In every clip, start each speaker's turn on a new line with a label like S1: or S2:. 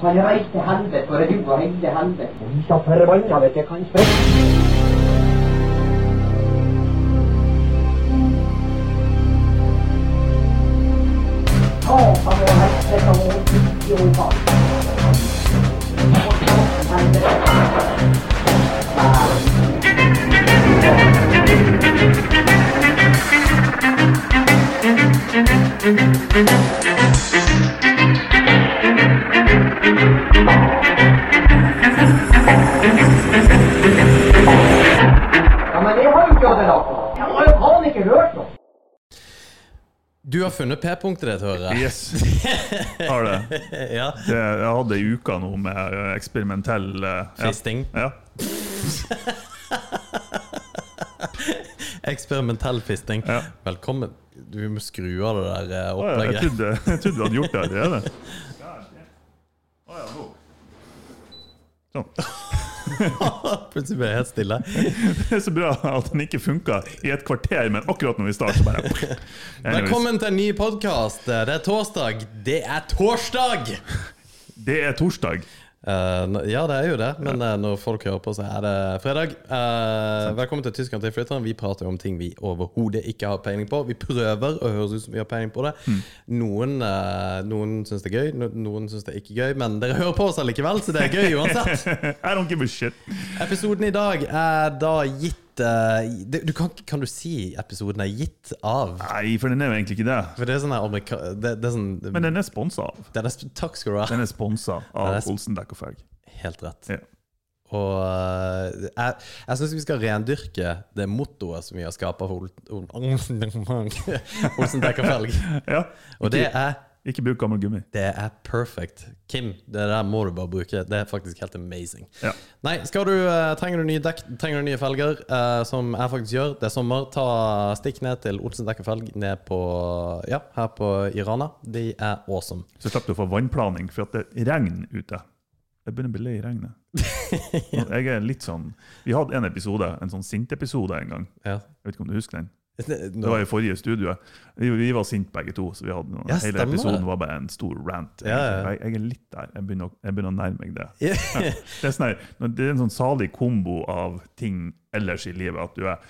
S1: Han reiste til helvete og rua hele helvete.
S2: Vi skal forbanna vet jeg kan spørre.
S1: Å, han var helvete og fikk jo faen.
S2: Ja, men jeg har jo ikke hatt det da. Jeg har jo faen ikke hørt noe.
S3: Du har funnet P-punktet ditt, hører jeg.
S4: Yes. Har det.
S3: Ja.
S4: det. Jeg hadde ei uke nå med eh, eksperimentell eh,
S3: Fisting.
S4: Ja. ja.
S3: Eksperimentell fisting.
S4: Ja.
S3: Velkommen. Du må skru av det der eh,
S4: Å, ja, Jeg
S3: opplegget.
S4: trodde, jeg trodde du hadde gjort det allerede. Å ja, nå. Sånn.
S3: Plutselig ble jeg helt stille.
S4: Det er så bra at den ikke funka i et kvarter, men akkurat når vi starter, så bare Anyways,
S3: Velkommen til en ny podkast. Det er torsdag. Det er torsdag!
S4: Det er torsdag.
S3: Eh, n- ja, det er jo det, men eh, når folk hører på, så er det fredag. Eh, velkommen til Tyskland til flytteren. Vi prater jo om ting vi overhodet ikke har peiling på. Vi prøver å høres ut som vi har peiling på det.
S4: Mm.
S3: Noen, uh, noen syns det er gøy, no- noen syns det er ikke gøy, men dere hører på oss allikevel, så det er gøy uansett.
S4: I don't give a shit.
S3: Episoden i dag er da gitt eh, det- du kan, ikke- kan du si episoden er gitt av?
S4: Nei, for den er jo egentlig ikke det.
S3: For det er sånn her amerika... Det, det er sånn
S4: Men den er sponsa av.
S3: den er, sp- Takk skal du ha.
S4: Den er sponsa
S3: Den
S4: av
S3: er sp-
S4: Olsen Dekk og Fag.
S3: Helt rett.
S4: Ja.
S3: Og eh, jeg, jeg syns vi skal rendyrke det mottoet som vi har skapa for Ol- Ol- Olsen Dekker Felg.
S4: ja.
S3: Og det er
S4: Ikke bruk gammel gummi.
S3: det er perfect. Kim, det der må du bare bruke. Det er faktisk helt amazing.
S4: Ja.
S3: Nei, skal du, eh, trenger du nye dekk, trenger du nye felger, eh, som jeg faktisk gjør, det er sommer, ta stikk ned til Olsen Dekker Felg ned på, ja, her på Irana. De er awesome.
S4: Så slapp du å få vannplaning, for at det regner ute. Jeg begynner å bli lei regnet. Og Jeg er litt sånn Vi hadde en episode, en sånn sint-episode en gang.
S3: Ja.
S4: Jeg vet ikke om du husker den? Det
S3: Nå,
S4: var i forrige studioet. Vi, vi var sinte begge to. så vi hadde noen,
S3: Ja,
S4: Hele
S3: stemmer
S4: episoden
S3: det.
S4: var bare en stor rant.
S3: Ja, ja.
S4: Jeg, jeg er litt der. Jeg begynner, å- jeg begynner å nærme meg det.
S3: Ja.
S4: Ja. Det, er sånn her, når det er en sånn salig kombo av ting ellers i livet. At du er,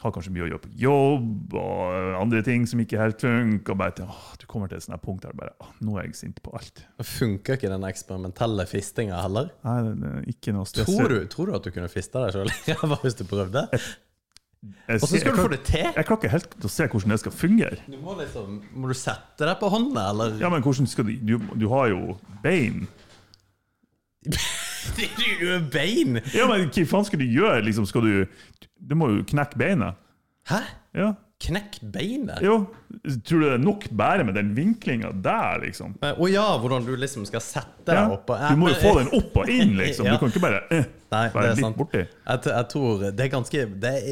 S4: har kanskje mye å gjøre på jobb, og andre ting som ikke helt funker. Og bare, til, åh, du kommer til et sånt her punkt der bare, åh, nå er jeg sint på alt.
S3: funker ikke den eksperimentelle fistinga heller?
S4: Nei, det er ikke noe stress.
S3: Tror du, tror du at du kunne fista deg sjøl? Bare hvis du prøvde?
S4: Jeg,
S3: Og så
S4: ser-
S3: Altså, skal
S4: jeg
S3: du få
S4: klarer-
S3: det til?
S4: Jeg klarer ikke helt å se hvordan det skal fungere.
S3: Du må liksom Må du sette deg på hånda, eller?
S4: Ja, men hvordan skal du, du, du har jo bein.
S3: Du er jo bein!
S4: Ja, men hva faen skal du gjøre? Liksom, skal du, du må jo knekke beinet.
S3: Hæ?
S4: Ja.
S3: Knekk beinet?
S4: Jo. Tror du det er nok bare med den vinklinga der, liksom?
S3: Men- Å Eh, ja, hvordan du liksom skal sette deg
S4: Ja.
S3: opp og
S4: Du må jo få den opp og inn, liksom.
S3: Ja.
S4: Du kan ikke bare, eh,
S3: Nei, det
S4: bare
S3: er sant.
S4: litt borti.
S3: Jeg, t- jeg tror det er ganske Det er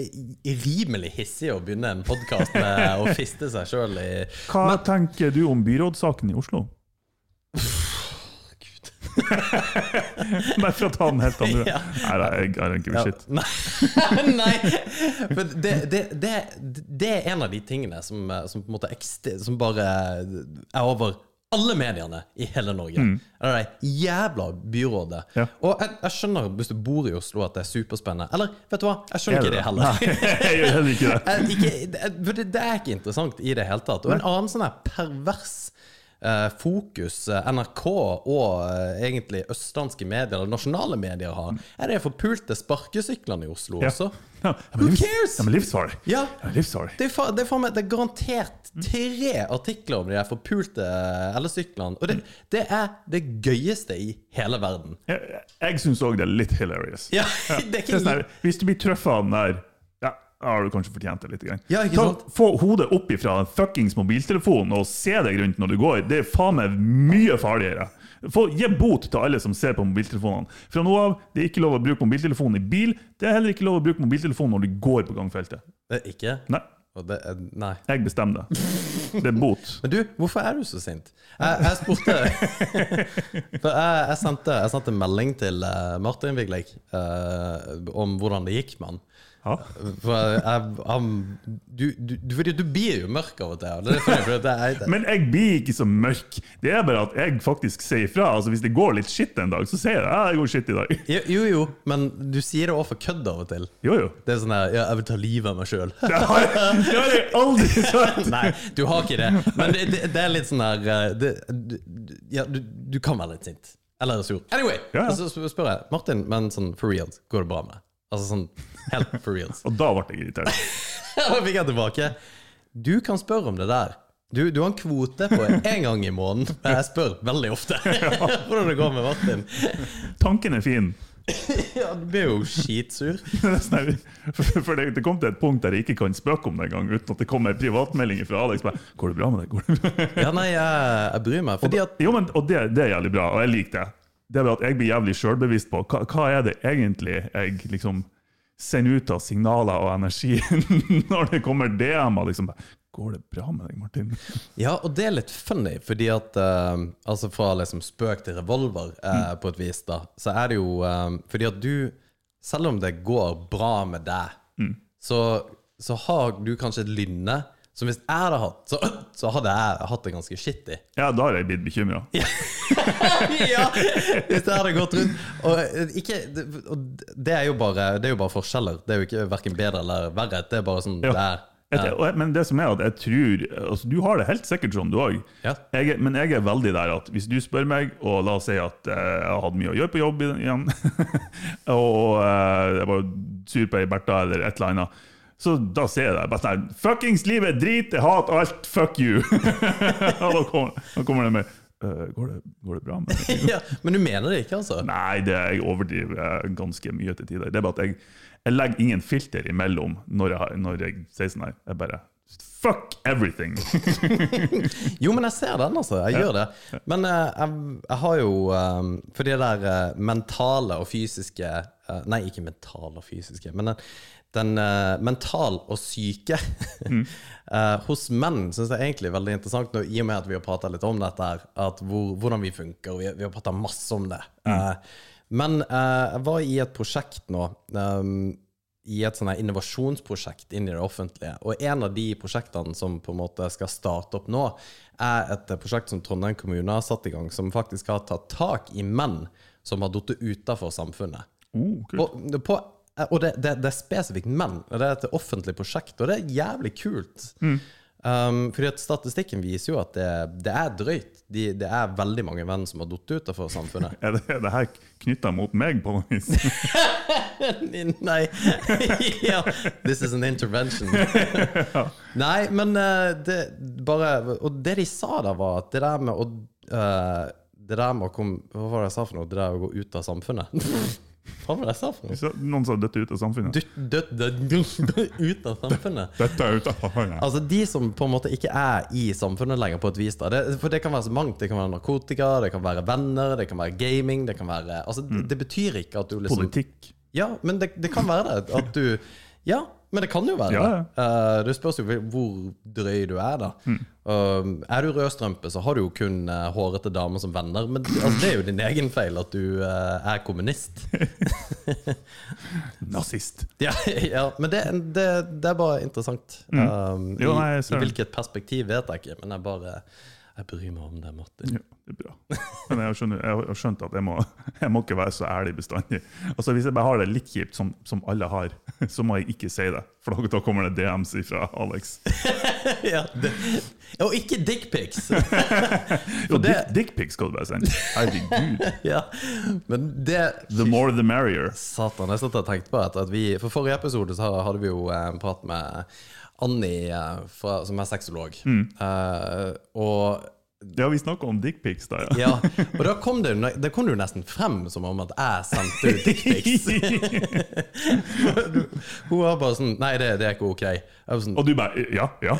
S3: i- rimelig hissig å begynne en podkast med å fiste seg sjøl i
S4: Hva tenker du om byrådssaken i Oslo? Bare for å ta den helt andre.
S3: Ja.
S4: Nei, nei, jeg I don't give a
S3: Ja,
S4: shit.
S3: Nei. nei. For det, det, det, det er en av de tingene som, eh, som, på en måte ekste- som bare er over alle mediene i hele Norge. Det er det jævla byrådet.
S4: Mm. Ja.
S3: Og jeg, jeg skjønner, hvis du bor i Oslo, at det er superspennende. Eller vet du hva, jeg
S4: Er
S3: skjønner ikke det heller.
S4: Nei, jeg gjør heller ikke det.
S3: Eh, ikke, det, for det, det er ikke interessant i det hele tatt. Og en annen sånn her pervers eh, fokus eh, NRK og eh, egentlig østlandske medier, eller nasjonale medier, har, er de forpulte sparkesyklene i Oslo
S4: Ja.
S3: også.
S4: Ja, men
S3: Who
S4: livs-
S3: cares?
S4: Ja, men livsfarlig.
S3: Ja.
S4: Ja, livsfarlig.
S3: Det er, fa- det, er faen meg- det er garantert
S4: Mm.
S3: tre artikler om de her forpulte eh, elsyklene, og det, det er det gøyeste i hele verden.
S4: Jeg, jeg syns òg det er litt hilarious.
S3: Ja, det er
S4: Det er sånn
S3: ikke
S4: her, hvis du blir truffet av den der ja, da har du kanskje fortjent det litt. Grann.
S3: Ja, ikke sant?
S4: Få hodet opp ifra en fuckings mobiltelefon og se deg rundt når du går. Det er faen meg mye farligere. Få, gi bot til alle som ser på mobiltelefonene. Fra nå av det er ikke lov å bruke mobiltelefonen i bil. Det er heller ikke lov å bruke mobiltelefon når du går på gangfeltet.
S3: Det er ikke.
S4: Nei,
S3: Og det er, nei.
S4: jeg bestemmer det. Det er bot.
S3: Men du, hvorfor er du så sint? Jeg, jeg spurte For jeg, jeg, sendte, jeg sendte melding til eh, Martin Vigleik eh, om hvordan det gikk med han.
S4: Ja.
S3: For jeg, jeg, han- du, du, du, fordi du blir jo mørk av og til. og Det er fordi, fordi det er,
S4: Men jeg blir ikke så mørk. Det er bare at jeg faktisk sier ifra. Altså, hvis det går litt skitt en dag, så sier jeg ja, det går skitt i dag.
S3: jo, jo, jo, men du sier det også for kødd av og til.
S4: Jo, jo.
S3: Det er sånn her, ja, jeg vil ta livet av meg sjøl.
S4: Det har, jeg- det har jeg aldri sagt!
S3: Nei, du har ikke det. Men det, det, det er litt sånn her eh, det, du, du- ja, du, du kan være litt sint. Eller sur. Anyway,
S4: Ja, ja.
S3: og så sp- spør jeg Martin, men sånn for real, går det bra med deg? Altså sånn helt for real.
S4: Og da ble jeg irritert.
S3: Da fikk jeg tilbake. Du kan spørre om det der. Du, du har en kvote på én gang i måneden, men jeg spør veldig ofte hvordan det går med Martin.
S4: Tanken er fin.
S3: Ja, Du blir jo skitsur.
S4: Det er sånn her- For for det, det kom til et punkt der jeg ikke kan spøke om det engang, uten at det kommer en privatmelding fra Alex. Bare, Går det bra med deg? Går det bra?
S3: Ja, nei, jeg, jeg bryr meg. Fordi at
S4: Jo, men, og det, det er jævlig bra, og jeg liker det. Det er bare at jeg blir jævlig sjølbevisst på hva, hva er det egentlig jeg liksom sender ut av signaler og energi når det kommer DM-er. Liksom, bare, Går det bra med deg, Martin?
S3: Ja, og det er litt funny, fordi at eh, Altså fra liksom spøk til revolver, eh,
S4: Mm.
S3: på et vis, da, så er det jo eh, Fordi at du, selv om det går bra med deg,
S4: Mm.
S3: så, så har du kanskje et lynne som hvis jeg hadde hatt, så, så hadde jeg hatt det ganske shitty.
S4: Ja, da har jeg blitt bekymra.
S3: ja! Hvis det hadde gått rundt. Og, eh, ikke, det- og det, er jo bare, det er jo bare forskjeller. Det er jo ikke verken bedre eller verre. Det er bare sånn
S4: Ja.
S3: det er.
S4: Jeg, og jeg, men det som er at jeg tror altså Du har det helt sikkert sånn, du òg.
S3: Ja.
S4: Jeg er- Men jeg er veldig der at hvis du spør meg, og la oss si at eh, jeg har hatt mye å gjøre på jobb i- igjen, og eh, jeg var sur på ei Bertha eller et eller annet, så da sier jeg det. Bare sånn her, Fuckings livet er drit, jeg hater alt, fuck you! og da kommer, da kommer det med «Eh, går, det, går det bra med deg?
S3: Ja, men du mener det ikke, altså?
S4: Nei, det, jeg overdriver eh, ganske mye til tider. Det er bare at jeg, jeg legger ingen filter imellom når jeg, har- når jeg sier sånn her. Jeg bare Fuck everything!
S3: Jo, men jeg ser den, altså. Jeg gjør det. Men eh, jeg, jeg har jo um, For det der eh, mentale og fysiske eh, Nei, ikke mentale og fysiske, men den, den eh, mental og syke eh, hos menn syns jeg egentlig er veldig interessant, nå, i og med at vi har prata litt om dette, her, at hvor, hvordan vi funker. og Vi, vi har prata masse om det. Eh, men eh, jeg var i et prosjekt nå. Um, i et sånn her innovasjonsprosjekt inn i det offentlige. Og en av de prosjektene som på en måte skal starte opp nå, er et prosjekt som Trondheim kommune har satt i gang, som faktisk har tatt tak i menn som har falt utafor samfunnet.
S4: Oh, kult.
S3: På, på, og det, det, det er spesifikt menn. og Det er et offentlig prosjekt, og det er jævlig kult. Um, fordi at Statistikken viser jo at det, det er drøyt. De, det er veldig mange menn som har falt utafor samfunnet.
S4: Er det, er det her knytta mot meg på noe vis?
S3: Nei. ja. This is an intervention. Nei, men eh, det bare Og det de sa da, var at det der med å eh, Det der med å komme Hva var det jeg sa for noe? Det der å gå ut av samfunnet? Hva var det jeg sa for noe?
S4: Så, noen som døtter ut av samfunnet?
S3: Dutt, dutt, dutt, dutt, ut av samfunnet.
S4: Dette er ut av samfunnet.
S3: Altså De som på en måte ikke er i samfunnet lenger, på et vis. da det, For det kan være så mangt. Det kan være narkotika, det kan være venner, det kan være gaming. Det kan være Altså det, det betyr ikke at du liksom
S4: Politikk.
S3: ja, men det, det kan være det. At du Ja, men det kan jo være
S4: Ja, Mm.
S3: det. Eh, det spørs jo hvor drøy du er, da. Um, er du rødstrømpe, så har du jo kun eh, hårete damer som venner. Men altså, det er jo din egen feil at du eh, er kommunist.
S4: Nazist.
S3: Ja, ja Men det, det, det er bare interessant. Um,
S4: Mm. Jo, nei,
S3: i,
S4: jeg ser
S3: I
S4: det.
S3: hvilket perspektiv vet jeg ikke, men jeg bare Jeg bryr meg om det, Martin.
S4: Ja, det er bra. Men jeg har skjønt, jeg har skjønt at jeg må, jeg må ikke være så ærlig bestandig. Altså Hvis jeg bare har det litt kjipt, som, som alle har, så må jeg ikke si det. For da- da kommer det DMs fra Alex.
S3: ja, det, og ikke dickpics!
S4: Jo,
S3: det-
S4: dick- dickpics skal du bare sende. Herregud.
S3: ja, men det
S4: The more the merrier.
S3: Satan, jeg satt og tenkte på at, at vi, For forrige episode så hadde vi jo eh, en prat med Annie, eh, fra, som er sexolog. Eh, og
S4: Ja, vi snakka om dickpics da, ja.
S3: ja, og da kom det, jo ne- det kom det jo nesten frem som om at jeg sendte ut dickpics. Hun var bare sånn Nei, det, det er ikke ok. Jeg var sånn,
S4: Og du bare eh, Ja, ja.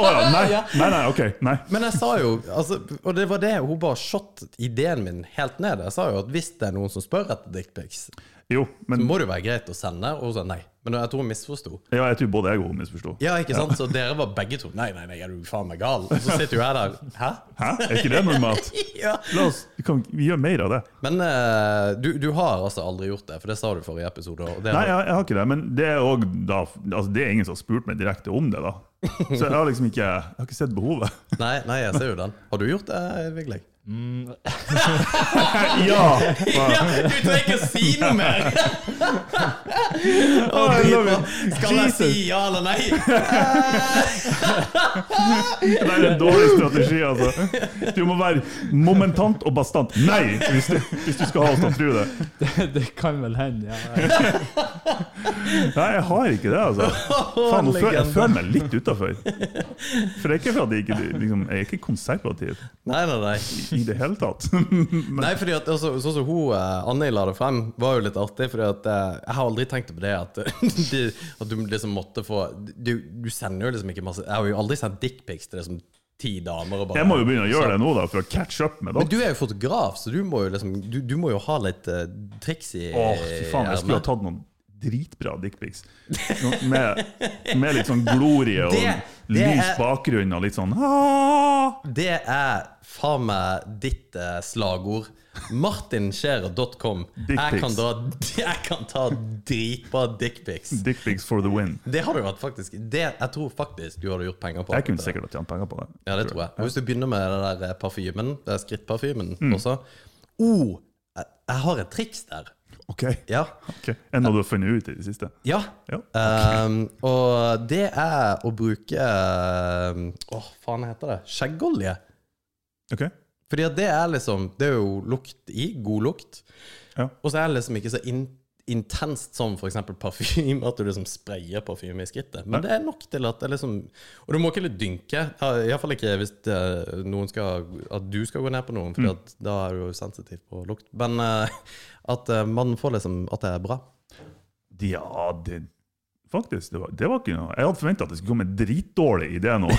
S4: Å ja, nei,
S3: Ja.
S4: nei, nei, ok. Nei.
S3: men jeg sa jo altså, Og det var det hun bare shot ideen min helt ned. Jeg sa jo at hvis det er noen som spør etter dickpics,
S4: Jo, men
S3: må det jo være greit å sende. Og hun sa nei. Men jeg tror hun misforsto.
S4: Ja, jeg tror både jeg og hun misforsto.
S3: Ja, ikke sant? Så dere var begge to Nei, nei, nei, er du faen meg gal? Og så sitter jo jeg der. Hæ?
S4: Hæ? Er ikke det normalt?
S3: Ja.
S4: La oss, vi, kan, vi gjør mer av det.
S3: Men eh, du, du har altså aldri gjort det, for det sa du forrige episode. Og det
S4: Nei, jeg, jeg har ikke det, men det er, også da, altså, det er ingen som har spurt meg direkte om det. da. Så jeg har liksom ikke, jeg har ikke sett behovet.
S3: nei, nei, jeg ser jo den. Har du gjort det, Vigleg?
S4: Ja!
S3: Mm. Ja, du trenger ikke å si noe mer!
S4: Oh, I love it.
S3: Skal jeg si ja eller nei?
S4: Det er en dårlig strategi, altså. Du må være momentant og bastant nei, hvis du, hvis du skal ha oss til å tro det.
S5: Det, det kan vel hende, ja.
S4: Nei, jeg har ikke det, altså. Faen, nå føler jeg føler meg litt utafor. For det er ikke for at jeg ikke liksom, Jeg er ikke konservativ
S3: Nei, nei, nei.
S4: i det hele tatt.
S3: Nei, fordi at altså, Sånn som hun eh, Anne la det frem, var jo litt artig. Fordi at eh, Jeg har aldri tenkt på det at, de, at du liksom måtte få du, du sender jo liksom ikke masse Jeg har jo aldri sendt dickpics til liksom ti damer. Og bare,
S4: Jeg må jo begynne å gjøre det nå, da, for å catch up med
S3: Men
S4: dere.
S3: du er jo fotograf, så du må jo liksom Du, du må jo ha litt eh, triks i
S4: Åh, fy faen, jeg skulle ha tatt noen dritbra dickpics. Noen Med, med litt sånn glorie og
S3: Det- det er-
S4: lys bakgrunn og litt sånn «Ah!»
S3: Det er faen meg ditt eh, slagord. Martinskjærer.com. Jeg,
S4: Dickpics.
S3: kan dra- jeg kan ta dritbra dickpics.
S4: Dickpics for the win.
S3: Det hadde jo vært faktisk det, Jeg tror faktisk du hadde gjort penger på.
S4: Jeg kunne sikkert ha tjent penger på det.
S3: Ja, det tror jeg. Og hvis du begynner med den der eh, parfymen, den skrittparfymen også oh, jeg, jeg har et triks der.
S4: Ok,
S3: Ja.
S4: ok. Enn noe du har funnet ut i det siste?
S3: ja.
S4: Ja.
S3: Ehm, og det er å bruke ehm, Åh, faen heter det? Skjeggolje.
S4: Ok.
S3: Fordi at det er liksom Det er jo lukt i. God lukt.
S4: Ja.
S3: Og så er det liksom ikke så in intenst som for eksempel parfyme, at du liksom sprayer parfyme i skrittet. Men det er nok til at det liksom Og du må ikke litt dynke. Iallfall ikke hvis det, noen skal At du skal gå ned på noen, for da er du jo sensitiv på lukt. Men eh, at eh, man får liksom At det er bra.
S4: Ja, det Faktisk, det var, det var ikke noe Jeg hadde forventa at det skulle komme en dritdårlig idé nå.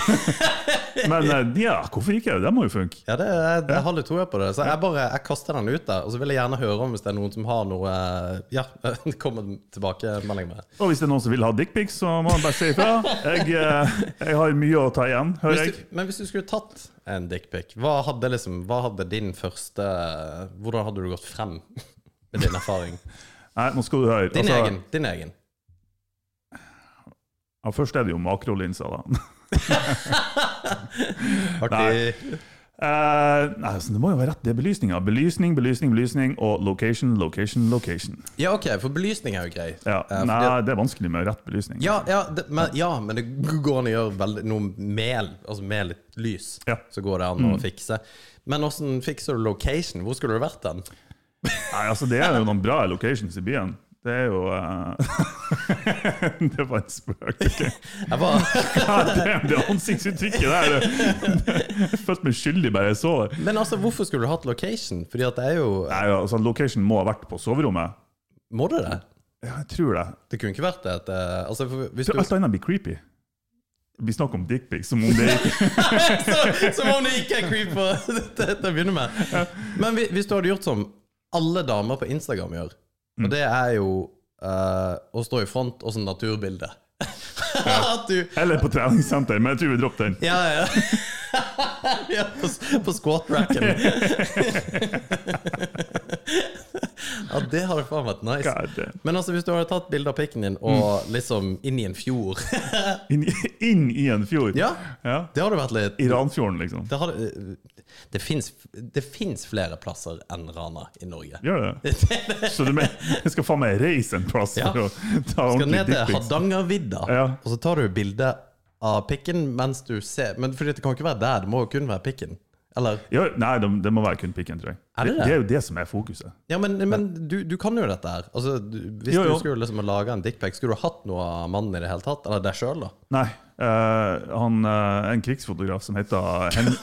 S4: Men eh, ja, hvorfor ikke? Det må jo funke.
S3: Ja, det, det jeg har litt troa på det. Så jeg bare jeg kaster den ut der. Og så vil jeg gjerne høre om hvis det er noen som har noe eh, Ja, kommer tilbake melding med.
S4: Og hvis det er noen som vil ha dickpics, så må han bare si ifra. Jeg, eh, jeg har mye å ta igjen, hører
S3: Hvis
S4: jeg.
S3: du, men hvis du skulle tatt en dickpic, hva, hadde liksom, hva hadde din første Hvordan hadde du gått frem med din erfaring?
S4: Nei, nå skal du høre.
S3: Din
S4: Altså,
S3: egen. din egen.
S4: Ja, først er det jo makrolinsa, da.
S3: Artig.
S4: Eh, nei, altså, Det må jo være rett, det er belysninga. Belysning, belysning, belysning og location, location, location.
S3: Ja, OK, for belysning er jo grei.
S4: Ja,
S3: Eh, for
S4: Nei,
S3: det-
S4: det er vanskelig med rett belysning.
S3: ja, ja, det, men, ja, men det går an å gjøre veldig, noe med, altså med litt lys.
S4: Ja. Mm.
S3: Så går det an å fikse. Men åssen fikser du location? Hvor skulle du vært den?
S4: Nei, altså, det er jo noen bra locations i byen. Det er jo eh, Det var en spøk. ok.
S3: Jeg var,
S4: Ja, det, det ansiktsuttrykket der det- Jeg følte meg skyldig bare jeg så det.
S3: men altså, hvorfor skulle du hatt location? Fordi at det er jo
S4: Nei, altså, Location må ha vært på soverommet.
S3: Må du det?
S4: Ja, jeg tror det.
S3: Det kunne ikke vært det. At, eh, altså, for hvis
S4: For
S3: du,
S4: alt annet blir creepy. Vi snakker om dickpics som om det ikke
S3: Som om det ikke er creeper til til å begynne med. Men hvi- hvis du hadde gjort som alle damer på Instagram gjør, og
S4: Mm.
S3: det er jo eh, å stå i front og sånn naturbilde At du
S4: Eller på treningssenter, men jeg tror vi dropper den.
S3: Ja, ja. ja på, s- på squat-racken. ja, det hadde faen vært nice.
S4: God, damn. Mm.
S3: Men altså, hvis du hadde tatt bilde av pikken din og liksom inn i en fjord
S4: inn, i- inn i en fjord.
S3: Ja,
S4: Ja.
S3: det hadde vært litt
S4: I Ranfjorden, liksom.
S3: Det, har, eh, det, finnes, det finnes flere plasser enn Rana i Norge.
S4: Gjør det? Så du mener, jeg skal faen meg reise en plass
S3: Ja.
S4: for å ta
S3: Skal
S4: ordentlig
S3: ned til
S4: dickpics?
S3: Hardangervidda,
S4: Ja.
S3: og så tar du bilde av pikken mens du ser Men fordi det kan ikke være der, det må jo kun være pikken. Eller
S4: Ja, nei, det, det må være kun pikken, tror jeg.
S3: Er det det?
S4: er jo det som er fokuset.
S3: Ja, men, men du, du kan jo dette her. Altså, du, hvis
S4: Jo, jo.
S3: du skulle liksom ha laga en dickpic, skulle du hatt noe av mannen i det hele tatt? Eller deg sjøl, da?
S4: Nei. eh, han eh, en krigsfotograf som heter Hen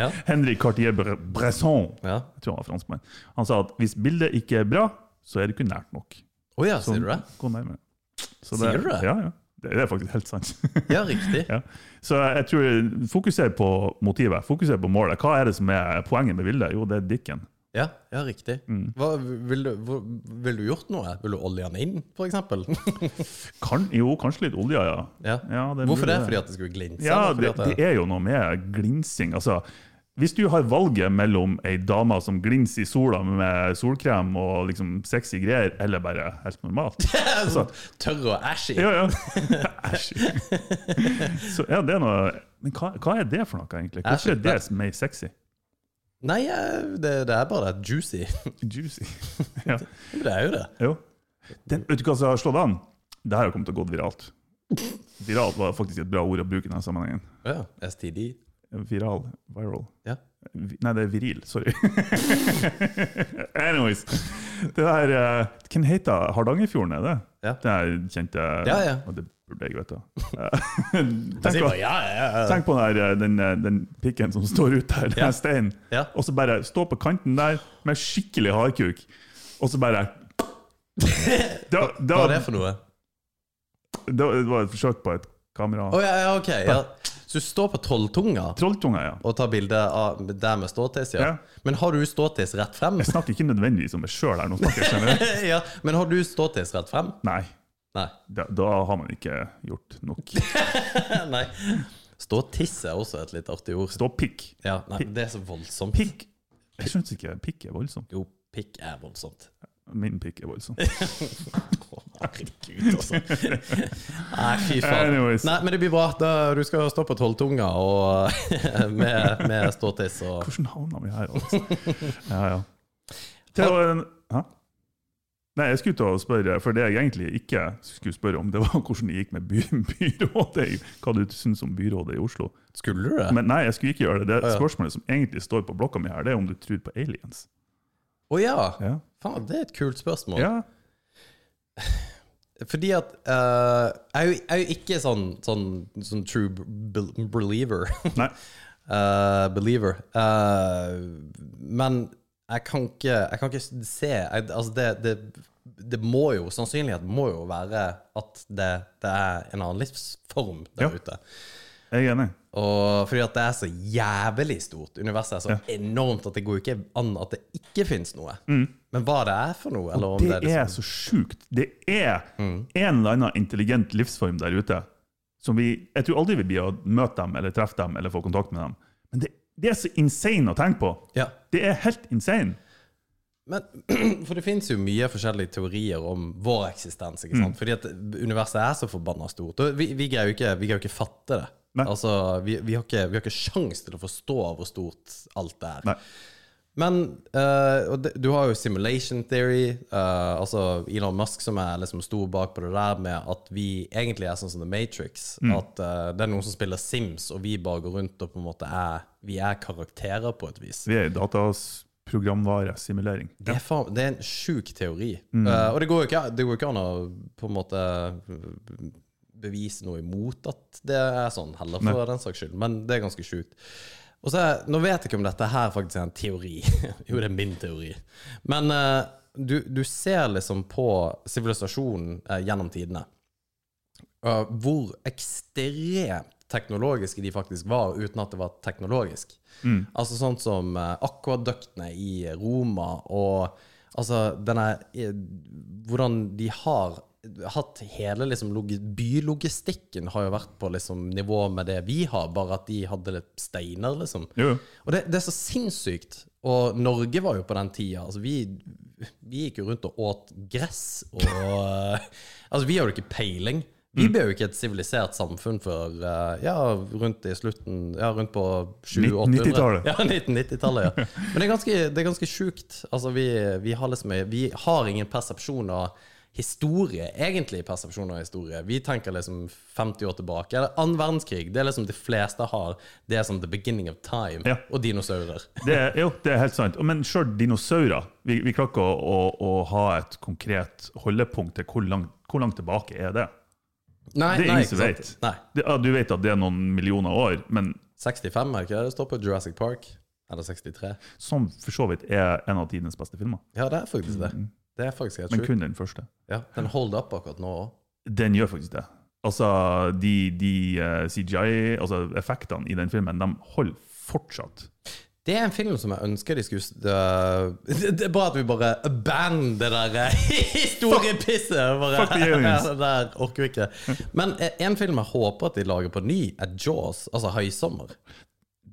S3: Ja.
S4: Henri Cartier-Bresson.
S3: Ja.
S4: Jeg tror han var franskmann. Han sa at hvis bildet ikke er bra, så er det ikke nært nok.
S3: Å ja, sier du det?
S4: Gå nærmere. Så
S3: Sier du det?
S4: Ja, ja. Det, det er faktisk helt sant.
S3: Ja, riktig.
S4: ja. Så jeg tror fokuser på motivet, fokuser på målet. Hva er det som er poenget med bildet? Jo, det er dikken.
S3: Ja, ja riktig.
S4: Mm.
S3: Hva, vil, du, hvor, vil du gjort noe? Vil du olje den inn, for eksempel?
S4: Kan, jo, kanskje litt olje, ja.
S3: ja.
S4: Ja, det er mulig
S3: Hvorfor det?
S4: det.
S3: Fordi at det skulle glinse?
S4: Ja,
S3: eller
S4: det,
S3: fordi at
S4: det er jo noe med glinsing. Altså, hvis du har valget mellom ei dame som glinser i sola med solkrem og liksom sexy greier, eller bare helt normalt altså,
S3: Sånn, Tørr og ashy?
S4: Ja, ja. Æsj. Så ja, det er noe Men hva, hva er det for noe, egentlig? Hvorfor er det mer sexy?
S3: Nei, eh, det, det er bare det. Juicy.
S4: Juicy. Ja,
S3: Det er jo det.
S4: jo. Den, vet du hva som har slått an? Det her har kommet til å gå viralt. Viralt var faktisk et bra ord å bruke i denne sammenhengen.
S3: Ja, STD.
S4: Viral. Viral.
S3: Ja.
S4: Vi- Nei, det er viril. Sorry. Anyways. Det der eh, Hvem heter det? Hardangerfjorden, er det?
S3: Ja.
S4: Det er kjente
S3: Ja, ja.
S4: Og det burde jeg vite. Eh,
S3: Jeg
S4: tenk,
S3: sier
S4: på,
S3: bare ja, ja, ja.
S4: tenk på den, der, eh, den, eh, den pikken som står ut der, den
S3: Ja.
S4: steinen.
S3: Ja.
S4: Og så bare stå på kanten der med skikkelig hardkuk, og så bare da, da,
S3: Hva er det for noe?
S4: da, Det var et forsøk på et kamera.
S3: Å ja, ja, ok. Ja. Så du står på trolltunga
S4: Trolltunga, ja.
S3: og tar bilde av der med ståtiss, ja.
S4: Ja.
S3: Men har du ståtiss rett frem?
S4: Jeg snakker ikke nødvendigvis om meg sjøl her, nå snakker jeg generelt.
S3: ja, men har du ståtiss rett frem?
S4: Nei.
S3: Nei.
S4: Da, da har man ikke gjort nok.
S3: Nei. Ståtiss er også et litt artig ord.
S4: Stå pikk.
S3: Ja, nei, men det er så voldsomt.
S4: Pikk. Jeg skjønner ikke. Pikk er voldsomt.
S3: Jo, pikk er voldsomt.
S4: Min pikk er voldsom.
S3: Å, herregud, altså. Nei, fy faen.
S4: Anyways.
S3: Nei, men det blir bra. Da, du skal stå på tolvtunga og med, med ståtiss og
S4: Hvordan havna vi her, altså? Ja, ja. Til å Hæ? Nei, jeg skulle til å spørre, for det jeg egentlig ikke skulle spørre om, det var hvordan det gikk med by byrådet. i- Hva du syns om byrådet i Oslo.
S3: Skulle du det?
S4: Men nei, jeg skulle ikke gjøre det. Det
S3: ja.
S4: spørsmålet som egentlig står på blokka mi her, det er om du tror på aliens.
S3: Å ja.
S4: Ja.
S3: Faen, det er et kult spørsmål.
S4: ja.
S3: Fordi at eh, jeg, er jo, jeg er jo ikke sånn, sånn, sånn true bel- believer.
S4: Nei.
S3: Eh, believer. Eh, men jeg kan ikke, jeg kan ikke se jeg, Altså, det, det, det må jo Sannsynligheten må jo være at det, det er en annen livsform der
S4: Ja.
S3: ute.
S4: Jeg er enig.
S3: Og fordi at det er så jævlig stort. Universet er så enormt at det går jo ikke an at det ikke finnes noe. Men hva det er for noe, eller om det, Mm.
S4: Mm. det,
S3: liksom
S4: er så sjukt. Det er en eller annen intelligent livsform der ute. Som vi, jeg tror aldri vi blir å møte dem, eller treffe dem, eller få kontakt med dem. Men det, det er så insane å tenke på!
S3: ja.
S4: Det er helt insane.
S3: Men, for det finnes jo mye forskjellige teorier om vår eksistens. ikke
S4: Mm.
S3: sant? Fordi at universet er så forbanna stort. Og vi, vi, greier jo ikke, vi greier jo ikke fatte det.
S4: Nei.
S3: Altså, vi, vi, har ikke, vi har ikke sjans til å forstå hvor stort alt er.
S4: Nei.
S3: Men eh, og det, du har jo simulation theory, eh, altså Elon Musk som er liksom stor bak på det der med at vi egentlig er sånn som The Matrix.
S4: Mm.
S3: At eh, det er noen som spiller Sims, og vi bare går rundt og på en måte er Vi er karakterer på et vis.
S4: Vi er i datas programvaresimulering.
S3: Det er, faen, det er en sjuk teori. Eh, og det går jo ikke, det går jo ikke an å på en måte bevise noe imot at det er sånn, heller, for den saks skyld. Men det er ganske sjukt. Og så, er- Nå vet jeg ikke om dette her faktisk er en teori. jo, det er min teori. Men eh, du, du ser liksom på sivilisasjonen eh, gjennom tidene. Eh, hvor ekstremt teknologiske de faktisk var, uten at det var teknologisk. Altså sånn som uh, akvaduktene i Roma, og altså denne eh, Hvordan de har hatt hele liksom log- Bylogistikken har jo vært på liksom nivå med det vi har, bare at de hadde litt steiner, liksom.
S4: Jo, jo.
S3: Og det, det er så sinnssykt. Og Norge var jo på den tida altså vi, vi gikk jo rundt og åt gress og Altså, vi har jo ikke peiling. Vi ble jo ikke et sivilisert samfunn før eh, ja, rundt i slutten Ja, rundt på 700-800.
S4: 90-tallet.
S3: Ja, 1990-tallet. ja. Men det er ganske, det er ganske sjukt. Altså, vi, vi, har liksom, vi har ingen persepsjon av historie, egentlig persepsjon av historie. Vi tenker liksom 50 år tilbake. Eller annen verdenskrig. Det er liksom de fleste har. Det er sånn the beginning of time.
S4: Ja.
S3: Og dinosaurer.
S4: Det er, jo, det er helt sant. Og Men sjøl dinosaurer Vi, vi klarer ikke å, å, å ha et konkret holdepunkt til hvor langt, hvor langt tilbake er det.
S3: Nei,
S4: Det er ingen
S3: nei,
S4: som
S3: ikke sant.
S4: vet.
S3: Nei.
S4: det. Ja, du vet at det er noen millioner år, men
S3: 65, er det ikke det? Det står på Jurassic Park. Eller 63.
S4: som for så vidt er en av tidens beste filmer.
S3: Ja, det er faktisk det. Det er faktisk helt
S4: Mm. Men
S3: sjukt.
S4: kun den første.
S3: Ja, den holder opp akkurat nå òg.
S4: Den gjør faktisk det. Altså, de, de eh, CGI, altså effektene i den filmen, de holder fortsatt.
S3: Det er en film som jeg ønsker de skulle s- øh, Det det er bra at vi bare banner det der øh, historiepisset. Bare,
S4: Fuck the aliens.
S3: det der orker vi ikke. Men eh, en film jeg håper at de lager på ny, er Jaws, altså 'Høysommer'.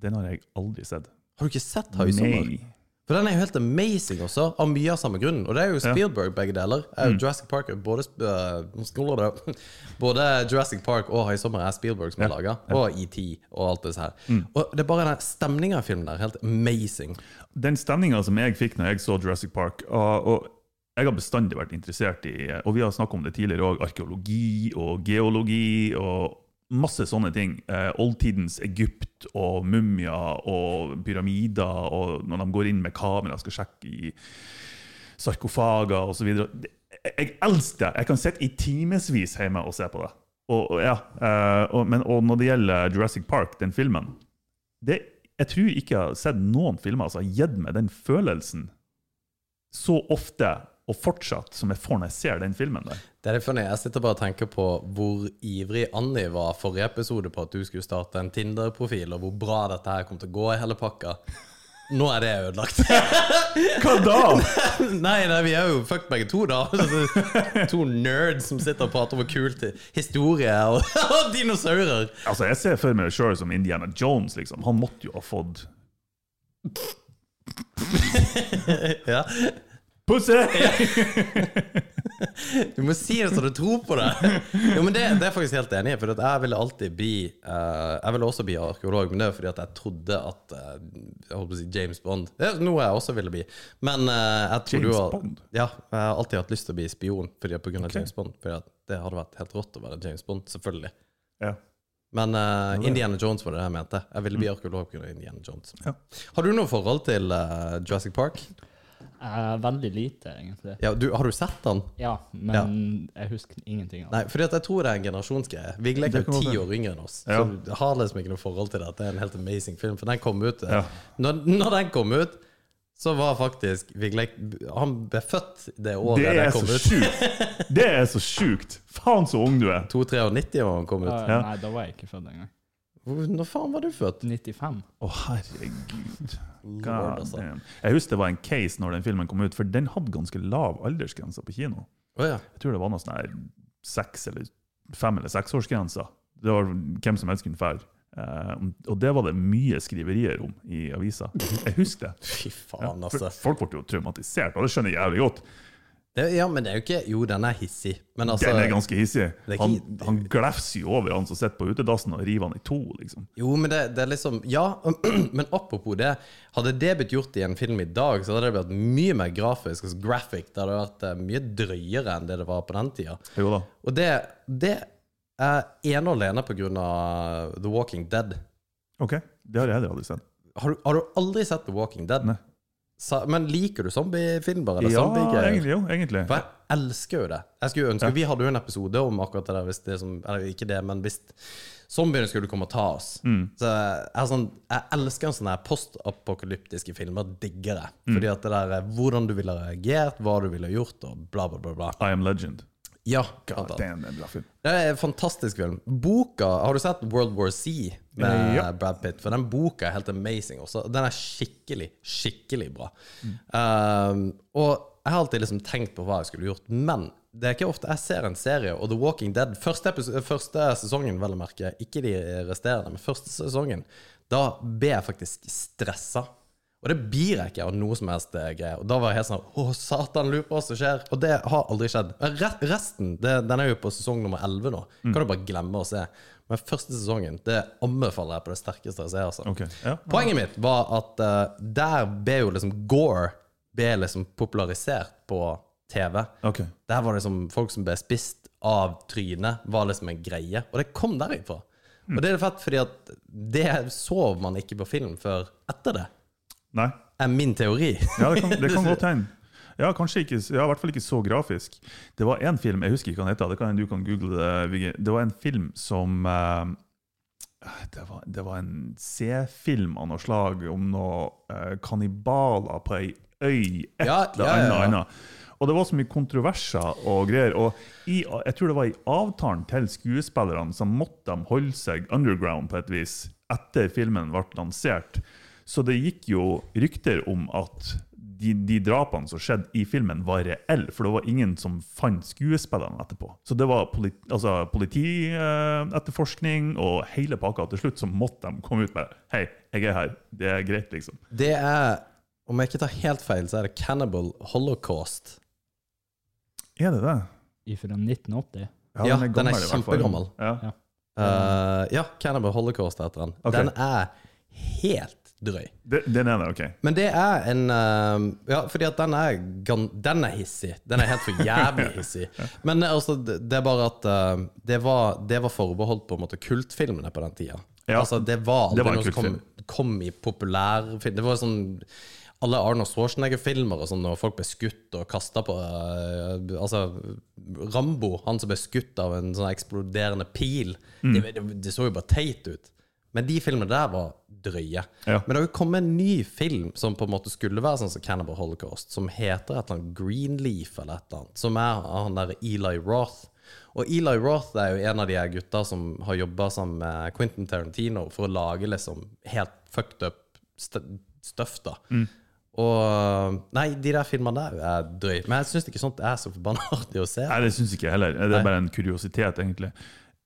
S4: Den har jeg aldri sett.
S3: Har du ikke sett 'Høysommer'?
S4: Nei.
S3: For den er jo helt amazing også, av mye av samme grunn. Og det er jo Spielberg, begge deler. Er jo
S4: Mm.
S3: Jurassic Park er både, sp- øh, nå skoler det. både Jurassic Park og Høysommer er Spielberg som har laga. Og ET og alt det her.
S4: Mm.
S3: Og det er bare den stemninga i filmen der. Helt amazing.
S4: Den stemninga som jeg fikk når jeg så Jurassic Park og, og Jeg har bestandig vært interessert i og vi har snakket om det tidligere også, arkeologi og geologi og masse sånne ting. Eh, oldtidens Egypt og mumier og pyramider og når de går inn med kamera og skal sjekke i sarkofager osv. Jeg elsker det! Jeg kan sitte i timevis hjemme og se på det. Og, og, ja, eh, og, men, og når det gjelder Jurassic Park, den filmen det, Jeg tror ikke jeg har sett noen filmer som har gitt meg den følelsen så ofte og fortsatt som jeg får når jeg ser den filmen. der.
S3: Det er litt funny. Jeg sitter bare og tenker på hvor ivrig Anni var forrige episode på at du skulle starte en Tinder-profil, og hvor bra dette her kom til å gå i hele pakka. Nå er det ødelagt.
S4: Hva da?!
S3: nei, nei, vi er jo fucked begge to, da. to nerds som sitter og prater om kult historie og, og dinosaurer.
S4: Altså, Jeg ser for meg sjøl som Indiana Jones. liksom. Han måtte jo ha fått
S3: Ja.
S4: Pussy!
S3: Du må si det så du tror på det! Jo, men Det, det er jeg faktisk helt enig i. For at jeg ville alltid bli eh, Jeg ville også bli arkeolog, men det er fordi at jeg trodde at eh, Jeg holdt på å si James Bond. Det er noe jeg også ville bli. Men eh, jeg tror
S4: James
S3: du har,
S4: Bond?
S3: Ja, jeg har alltid hatt lyst til å bli spion fordi, på grunn av James Bond. Fordi at det hadde vært helt rått å være James Bond, selvfølgelig.
S4: Ja.
S3: Men eh, Indiana Jones var det jeg mente. Jeg ville bli arkeolog pga. Indiana Jones.
S4: Mm. Ja.
S3: Har du noe forhold til eh, Jurassic Park?
S5: Eh, veldig lite, egentlig.
S3: Ja, du, har du sett den?
S5: Ja, men jeg husker ingenting av det.
S3: Nei, fordi at jeg tror det er en generasjonsgreie. Vigleik
S4: Det
S3: er jo
S4: kan godt
S3: ti
S4: være.
S3: år yngre enn oss,
S4: Ja.
S3: så du har liksom ikke noe forhold til det. Det er en helt amazing film. For den kom ut eh,
S4: Ja.
S3: når, når den kom ut, så var faktisk Vigleik Han ble født det året
S4: Det er
S3: den
S4: så
S3: kom ut.
S4: sjukt! Det er så sjukt! Faen så ung du er!
S3: 2-93 år han kom ut.
S5: Eh,
S4: Ja.
S5: Nei, da var jeg ikke født engang.
S3: Hvor- Når faen var du født?
S5: 95.
S4: Å, herregud.
S3: Lord,
S4: God
S3: altså.
S4: damn. Jeg husker det var en case når den filmen kom ut, for den hadde ganske lav aldersgrense på kino.
S3: Å ja.
S4: Jeg tror det var noe sånn her seks eller fem eller seksårsgrense. Det var hvem som helst kunne fære. Eh, og det var det mye skriverier om i avisa. Jeg husker det.
S3: Fy faen,
S4: For
S3: altså.
S4: folk ble jo traumatisert, og det skjønner jeg jævlig godt.
S3: Det, ja, men det er jo ikke Jo, den er hissig, men altså
S4: Den er ganske hissig.
S3: er ikke-
S4: Han, han glefser jo over han som sitter på utedassen og river han i to, liksom.
S3: Jo, men det, det er liksom Ja, men apropos det. Hadde det blitt gjort i en film i dag, så hadde det vært mye mer grafisk. Altså graphic, det hadde vært eh, mye drøyere enn det det var på den tida.
S4: Jo da.
S3: Og det, det er ene og alene på grunn av eh, The Walking Dead.
S4: OK. Det har jeg heller aldri sett.
S3: Har du, har du aldri sett The Walking Dead?
S4: Nei.
S3: Sa, men liker du zombiefilmer? eller
S4: Ja,
S3: zombiegreier?
S4: egentlig. Jo, egentlig.
S3: For jeg elsker jo det. Jeg skulle jo ønske, Vi hadde jo en episode om akkurat det der hvis det som, Eller ikke det, men hvis zombiene skulle komme og ta oss.
S4: Mm.
S3: Så jeg, er sånn, jeg elsker sånne her postapokalyptiske filmer. Digger det.
S4: Mm.
S3: Fordi at det der er hvordan du ville reagert, hva du ville gjort, og bla, bla, bla. bla.
S4: I Am Legend.
S3: Ja,
S4: God
S3: blant annet.
S4: damn, det er en bra film.
S3: Det er en fantastisk film. Boka Har du sett World War Z med
S4: Ja.
S3: Brad Pitt? For den boka er helt amazing også. Den er skikkelig, skikkelig bra. Um, og jeg har alltid liksom tenkt på hva jeg skulle gjort, men det er ikke ofte jeg ser en serie, og The Walking Dead Første, episo- første sesongen, vel å merke, ikke de resterende, men første sesongen, da ble jeg faktisk stressa. Og det blir jeg ikke av noe som helst eh, greie. Og da var jeg helt sånn Å, satan, lurer på hva som skjer. Og det har aldri skjedd. Men re- Resten, det, den er jo på sesong nummer 11 nå.
S4: Mm.
S3: Kan du bare glemme å se. Men første sesongen, det anbefaler jeg på det sterkeste å se, altså.
S4: Ok, ja.
S3: Poenget mitt var at eh, der ble jo liksom Gore ble liksom popularisert på TV.
S4: Ok.
S3: Der var det liksom folk som ble spist av trynet, var liksom en greie. Og det kom derifra.
S4: Mm.
S3: Og det er fett, fordi at det så man ikke på film før etter det,
S4: Nei.
S3: er min teori.
S4: Ja, det kan, det kan godt hende. Ja, kanskje ikke, ja, i hvert fall ikke så grafisk. Det var en film, jeg husker ikke hva den heter, det kan, du kan google det, Vigge. Det var en film som eh, det, var, det var en C-film av noe slag om noen kannibaler på ei øy, et
S3: Ja, ja, ja,
S4: eller
S3: ja.
S4: annet. annet. Og det var så mye kontroverser og greier. Og i, jeg tror det var i avtalen til skuespillerne så måtte de holde seg underground på et vis etter filmen ble lansert. Så det gikk jo rykter om at de, de drapene som skjedde i filmen, var reelle. For det var ingen som fant skuespillerne etterpå. Så det var politi, altså, politietterforskning og hele pakka. Til slutt så måtte de komme ut med Hei, jeg er her. Det er greit, liksom.
S3: Det er, om jeg ikke tar helt feil, så er det Cannibal Holocaust.
S4: Er det det?
S5: Ifra 1980.
S3: Ja,
S4: men
S3: den er
S4: gammel i hvert fall.
S3: kjempegammel.
S4: Ja.
S3: Eh, ja, Cannibal Holocaust heter den.
S4: Mm. Ok.
S3: Den er helt drøy.
S4: Det- Den er det, OK.
S3: Men det er en eh, Ja, fordi at den er, gan- den er hissig. Den er helt for jævlig hissig. Men eh, altså, det det er bare at eh, det var, det var forbeholdt på en måte kultfilmene på den tida.
S4: Ja.
S3: Altså, det var aldri
S4: Det var en
S3: noe som kom, kom i populærfilm. Det var sånn alle Arnold Schwarzenegger-filmer og sånn, når folk ble skutt og kasta på eh, Altså, Rambo, han som ble skutt av en sånn eksploderende pil, det, det, det så jo bare teit ut. Men de filmene der var drøye.
S4: Ja.
S3: Men det har jo kommet en ny film som på en måte skulle være sånn som Cannibal Holocaust, som heter et eller annet Greenleaf eller et eller annet, som er av han der Eli Roth. Og Eli Roth er jo en av de her gutta som har jobba sammen med Quentin Tarantino for å lage liksom helt fucked up st- stuff, da. Og Nei, de der filmene der er drøye. Men jeg syns ikke sånt er så forbanna artig å se.
S4: Nei, det syns ikke jeg heller. Det er bare en kuriositet, egentlig.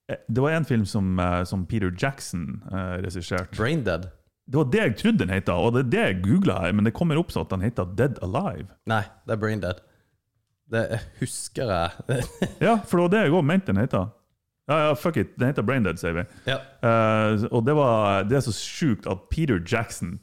S4: Eh, Det var en film som, eh, som Peter Jackson eh, regisserte.
S3: Braindead?
S4: Det var det jeg trodde den het, og det er det jeg googla her, men det kommer opp sånn at den heter Dead Alive.
S3: Nei, det er Braindead. Det husker jeg.
S4: Ja, for det var det jeg òg mente den heter. Ja, ja, fuck it. Den heter Braindead, sier vi.
S3: ja.
S4: Eh, og det, var, det er så sjukt at Peter Jackson,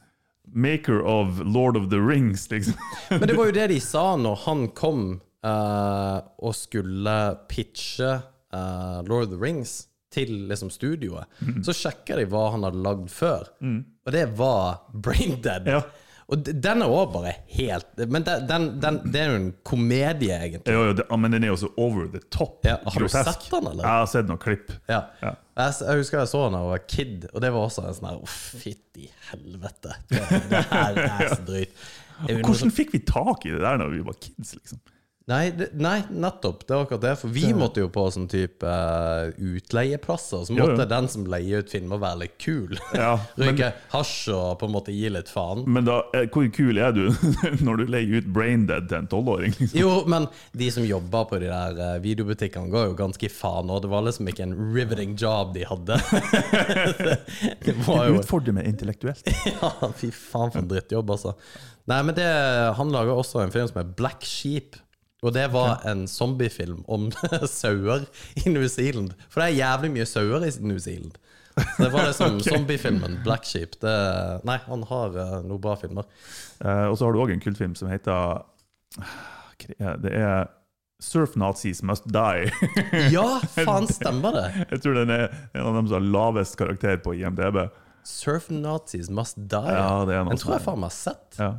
S4: maker of Lord of the Rings, liksom
S3: Men det var jo det de sa når han kom eh, og skulle pitche eh, Lord of the Rings til liksom, studioet.
S4: Mm.
S3: Så sjekka de hva han hadde lagd før, og det var Braindead.
S4: Ja.
S3: Og d- den er òg bare helt Men den, den, den, det er jo en komedie, egentlig.
S4: Jo, jo, det, ja, men den er jo så over the top.
S3: Ja, har du
S4: grotesk.
S3: sett den, eller?
S4: Jeg har sett noen klipp.
S3: Ja.
S4: Ja.
S3: Jeg, s- jeg husker jeg så den da jeg var kid, og det var også en sånn her Uff, fytti helvete. Det, det her er så drøyt. Er jo noe som-
S4: Hvordan fikk vi tak i det der når vi var kids, liksom?
S3: Nei, det, nei, nettopp. Det var akkurat det. For vi måtte jo på sånn type eh, utleieplasser. Så
S4: Jo,
S3: måtte
S4: jo.
S3: den som leier ut filmer, være litt kul.
S4: Ja, men-
S3: Røyke hasj og på en måte gi litt faen.
S4: Men da, eh, hvor kul er du når du leier ut Braindead til en tolvåring? Liksom?
S3: Jo, men de som jobba på de der eh, videobutikkene, ga jo ganske i faen. Og det var liksom ikke en riveting job de hadde. det var Ah, jo
S4: Utfordre meg intellektuelt.
S3: Ja, fy faen for en drittjobb, altså. Nei, men det, han laga også en film som er Black Sheep. Og det var en zombiefilm om sauer i New Zealand. For det er jævlig mye sauer i New Zealand. Så det var liksom zombiefilmen Black Sheep. Det, nei, han har eh, noen bra filmer.
S4: Eh, og så har du òg en kultfilm som heter Hva er Det Det er Surf Nazis Must Die.
S3: Ja, faen, stemmer det!
S4: Jeg tror den er en av dem som har lavest karakter på IMDb.
S3: Surf Nazis Must Die.
S4: Ja, det er noe
S3: den tror jeg
S4: sånt.
S3: faen meg har sett.
S4: Ja.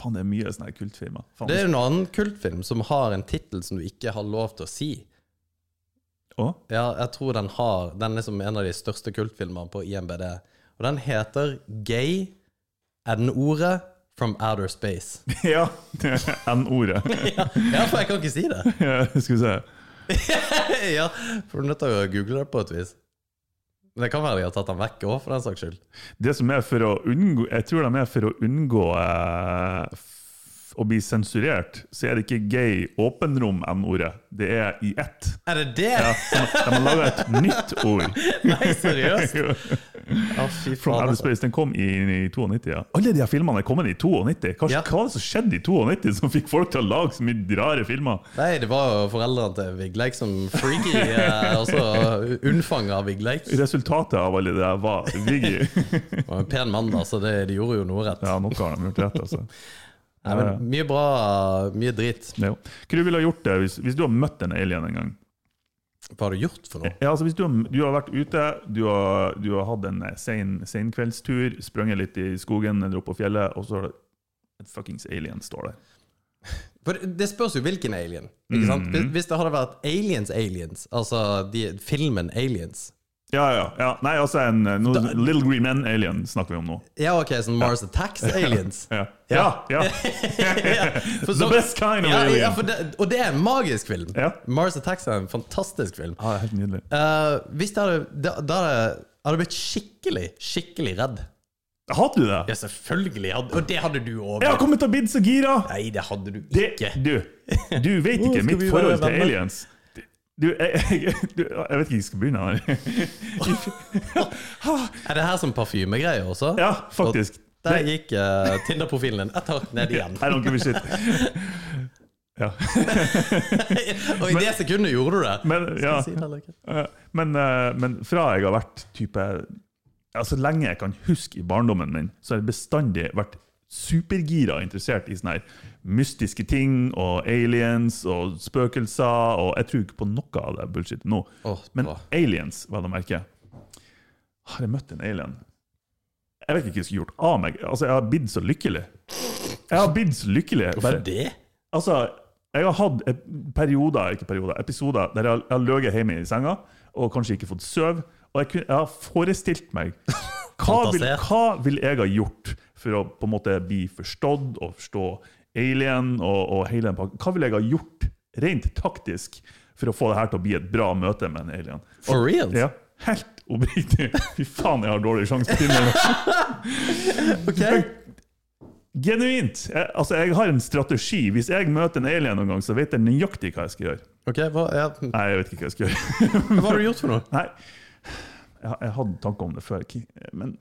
S4: Faen, det er mye sånne her kultfilmer. Faen,
S3: Det er jo en annen kultfilm som har en tittel som du ikke har lov til å si.
S4: Å?
S3: Ja, jeg tror den har Den er liksom en av de største kultfilmene på IMBD. Og den heter Gay N-ordet from Outer Space.
S4: Ja! N-ordet.
S3: Ja, for jeg kan ikke si det!
S4: Skal vi se.
S3: ja, For du er nødt til å google det på et vis. Men det kan være de har tatt den vekk òg, for den saks skyld.
S4: Det som er for å unngå Jeg tror de er for å unngå eh, f- å bli sensurert, så er det ikke gay åpenrom-n-ordet. Det er i ett.
S3: Er det det?!
S4: Ja, så de har laga et nytt ord.
S3: Nei, seriøst! Ja, fy
S4: From
S3: faen.
S4: Outer
S3: altså.
S4: Space, Den kom i, i 92, ja. Alle de her filmene er kommet i 92. Hva,
S3: Ja.
S4: hva var det som skjedde i 92 som fikk folk til å lage så mye rare filmer?
S3: Nei, det var jo foreldrene til Vigleik som freaky, eh, og så unnfanga Vigleik.
S4: Resultatet av alle det der var Viggy.
S3: Han var en pen mann, da, så det, de gjorde jo noe rett.
S4: Ja, noe har de gjort rett, altså.
S3: Nei, men mye bra, mye drit.
S4: Ja. Hva du ville ha gjort det hvis, hvis du har møtt en alien en gang?
S3: Hva har du gjort for noe?
S4: Ja, altså hvis du, har- du har vært ute, du har, du har hatt en eh, sen, sen kveldstur, sprunget litt i skogen eller opp på fjellet, og så har det et fuckings alien står der.
S3: For det- det spørs jo hvilken alien. Ikke
S4: Mhm.
S3: sant? Hvis- Hvis det hadde vært Aliens Aliens, altså de, filmen Aliens
S4: Ja, ja, ja. Nei, altså en eh, no, Little Green Man-alien snakker vi om nå.
S3: Ja, OK, sånn Mars Attacks Aliens.
S4: Ja, ja.
S3: Ja.
S4: ja.
S3: For
S4: The
S3: så-
S4: best kind of
S3: ja,
S4: alien.
S3: Ja, for det, og det er en magisk film.
S4: Ja.
S3: Mars Attacks er en fantastisk film.
S4: Ja, det er helt nydelig.
S3: Eh, hvis det hadde Da, da hadde jeg hadde jeg blitt skikkelig, skikkelig redd.
S4: Hadde du det?
S3: Ja, selvfølgelig. hadde- Og det hadde du òg.
S4: Jeg har kommet til å bli så gira!
S3: Nei, det hadde du
S4: Det,
S3: ikke.
S4: du, du vet
S3: Nå
S4: ikke
S3: skal
S4: mitt
S3: vi
S4: forhold
S3: være
S4: til
S3: venner.
S4: aliens. Du, jeg, jeg, du, jeg vet ikke hvor jeg skal begynne her.
S3: Er det her som parfymegreier også?
S4: Ja, faktisk.
S3: Og der gikk eh, Tinder-profilen din ett hakk ned igjen.
S4: I don't give a shit. Ja.
S3: og i det sekundet gjorde du det.
S4: Men, ja.
S3: Skal jeg si det eller ikke?
S4: Eh, Men, eh, men fra jeg har vært type ja, Så lenge jeg kan huske i barndommen min, så har jeg bestandig vært supergira og interessert i sånne her mystiske ting og aliens og spøkelser. Og jeg tror ikke på noe av det bullshit nå.
S3: Åh,
S4: Men
S3: bra.
S4: aliens, vel å merke. Har jeg møtt en alien? Jeg vet ikke hva jeg skulle gjort av meg. Altså, Jeg har blitt så lykkelig. Jeg har blitt så lykkelig.
S3: Hvorfor det?
S4: Altså, jeg har hatt et- perioder, ikke perioder, episoder der jeg har- jeg har løyet hjemme i senga og kanskje ikke fått søv. Og jeg, kunne, jeg har forestilt meg hva vil,
S3: Fantasert.
S4: hva vil jeg ha gjort for å på en måte bli forstått og forstå alien og, og hele den pakken? Hva vil jeg ha gjort rent taktisk for å få det her til å bli et bra møte med en alien?
S3: For real?
S4: Ja, helt oppriktig. Fy faen, jeg har dårlig sjanse til det.
S3: Ok.
S4: Genuint. Jeg, altså, jeg har en strategi. Hvis jeg møter en alien noen gang, så vet jeg nøyaktig hva jeg skal gjøre.
S3: Ok, hva, ja.
S4: Nei, jeg vet ikke hva jeg skal gjøre.
S3: hva har du gjort for noe?
S4: Nei, jeg, jeg hadde tanker om det før. Ki- Men,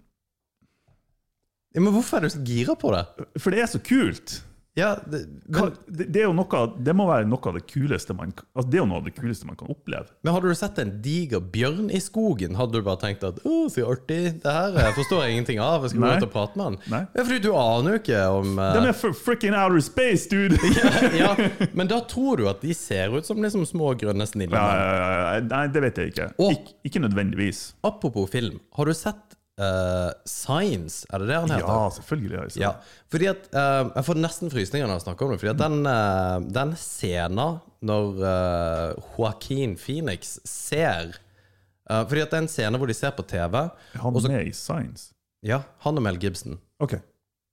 S3: Ja, men hvorfor er du så gira på det?
S4: for det er så kult.
S3: Ja, det,
S4: Hva-
S3: men,
S4: Det, det, er jo noe, det må være noe av det kuleste man, altså det er jo noe av det kuleste man kan oppleve.
S3: men hadde du sett en diger bjørn i skogen, hadde du bare tenkt at å, så artig, det her eh, forstår jeg ingenting av, jeg skal gå
S4: Nei.
S3: ut og prate med han.
S4: Nei.
S3: Ja, fordi du aner jo ikke om eh,
S4: De er for freaking outer space, dude!
S3: ja, Men da tror du at de ser ut som liksom små, grønne, snille
S4: Ja,
S3: menn.
S4: ja, ja, ja. Nei, det vet jeg ikke.
S3: Å.
S4: Ik, ikke nødvendigvis.
S3: Apropos film, har du sett eh, Signs? Er det det han heter?
S4: Ja, selvfølgelig. altså. har jeg sett.
S3: Ja, fordi at eh, Jeg får nesten frysninger når jeg snakker om det. Fordi at den, eh, den scenen når eh, Joaquin Phoenix ser eh, Fordi at det er en scene hvor de ser på TV.
S4: Er Han
S3: og så-
S4: med i Science.
S3: Ja, han og Mel Gibson.
S4: Ok.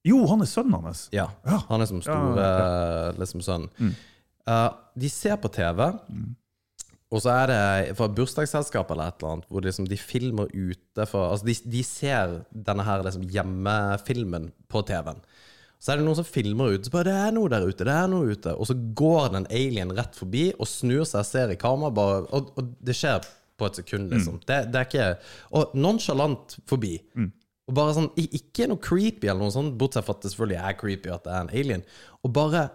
S4: Jo, han er sønnen hans.
S3: Ja,
S4: Ja. Mm.
S3: Han er som store eh, liksom sønn. Eh, de ser på TV, og så er det fra et bursdagsselskap eller et eller annet, hvor liksom de filmer ute fra Altså, de, de ser denne her liksom hjemmefilmen på TV-en. Så er det noen som filmer ut. Så bare, det er noe der ute, det er noe ute. Og så går den alien rett forbi og snur seg, ser i kamera, bare, og, og det skjer på et sekund, liksom. Det, det er ikke Og nonchalant forbi. Og bare sånn, i- Ikke noe creepy, eller noe sånt, bortsett fra at det selvfølgelig er creepy at det er en alien. Og bare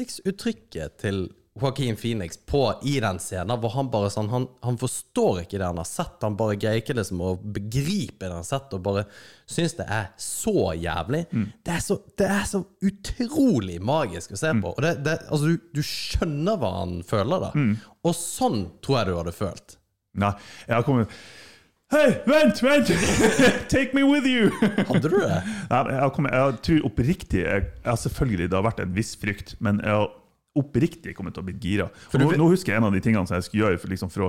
S3: ansiktsuttrykket til Joaquin Phoenix på i den scenen, hvor han bare sånn Han, han forstår ikke det han har sett, han bare greier ikke liksom å begripe det han har sett, og bare syns det er så jævlig. Det, er så, det er så utrolig magisk å se på. Og det, det, altså, du, du skjønner hva han føler, da. Og sånn tror jeg du hadde følt.
S4: Nei, jeg har kommet Hei, vent, vent! Take me with you!
S3: Hadde du det?
S4: Nei, men jeg, har kommet, jeg tror oppriktig jeg, jeg, har Selvfølgelig, det har vært en viss frykt, men jeg har oppriktig kommet til å bli gira. Og Nå, nå husker jeg en av de tingene som jeg skulle gjøre for, liksom, for å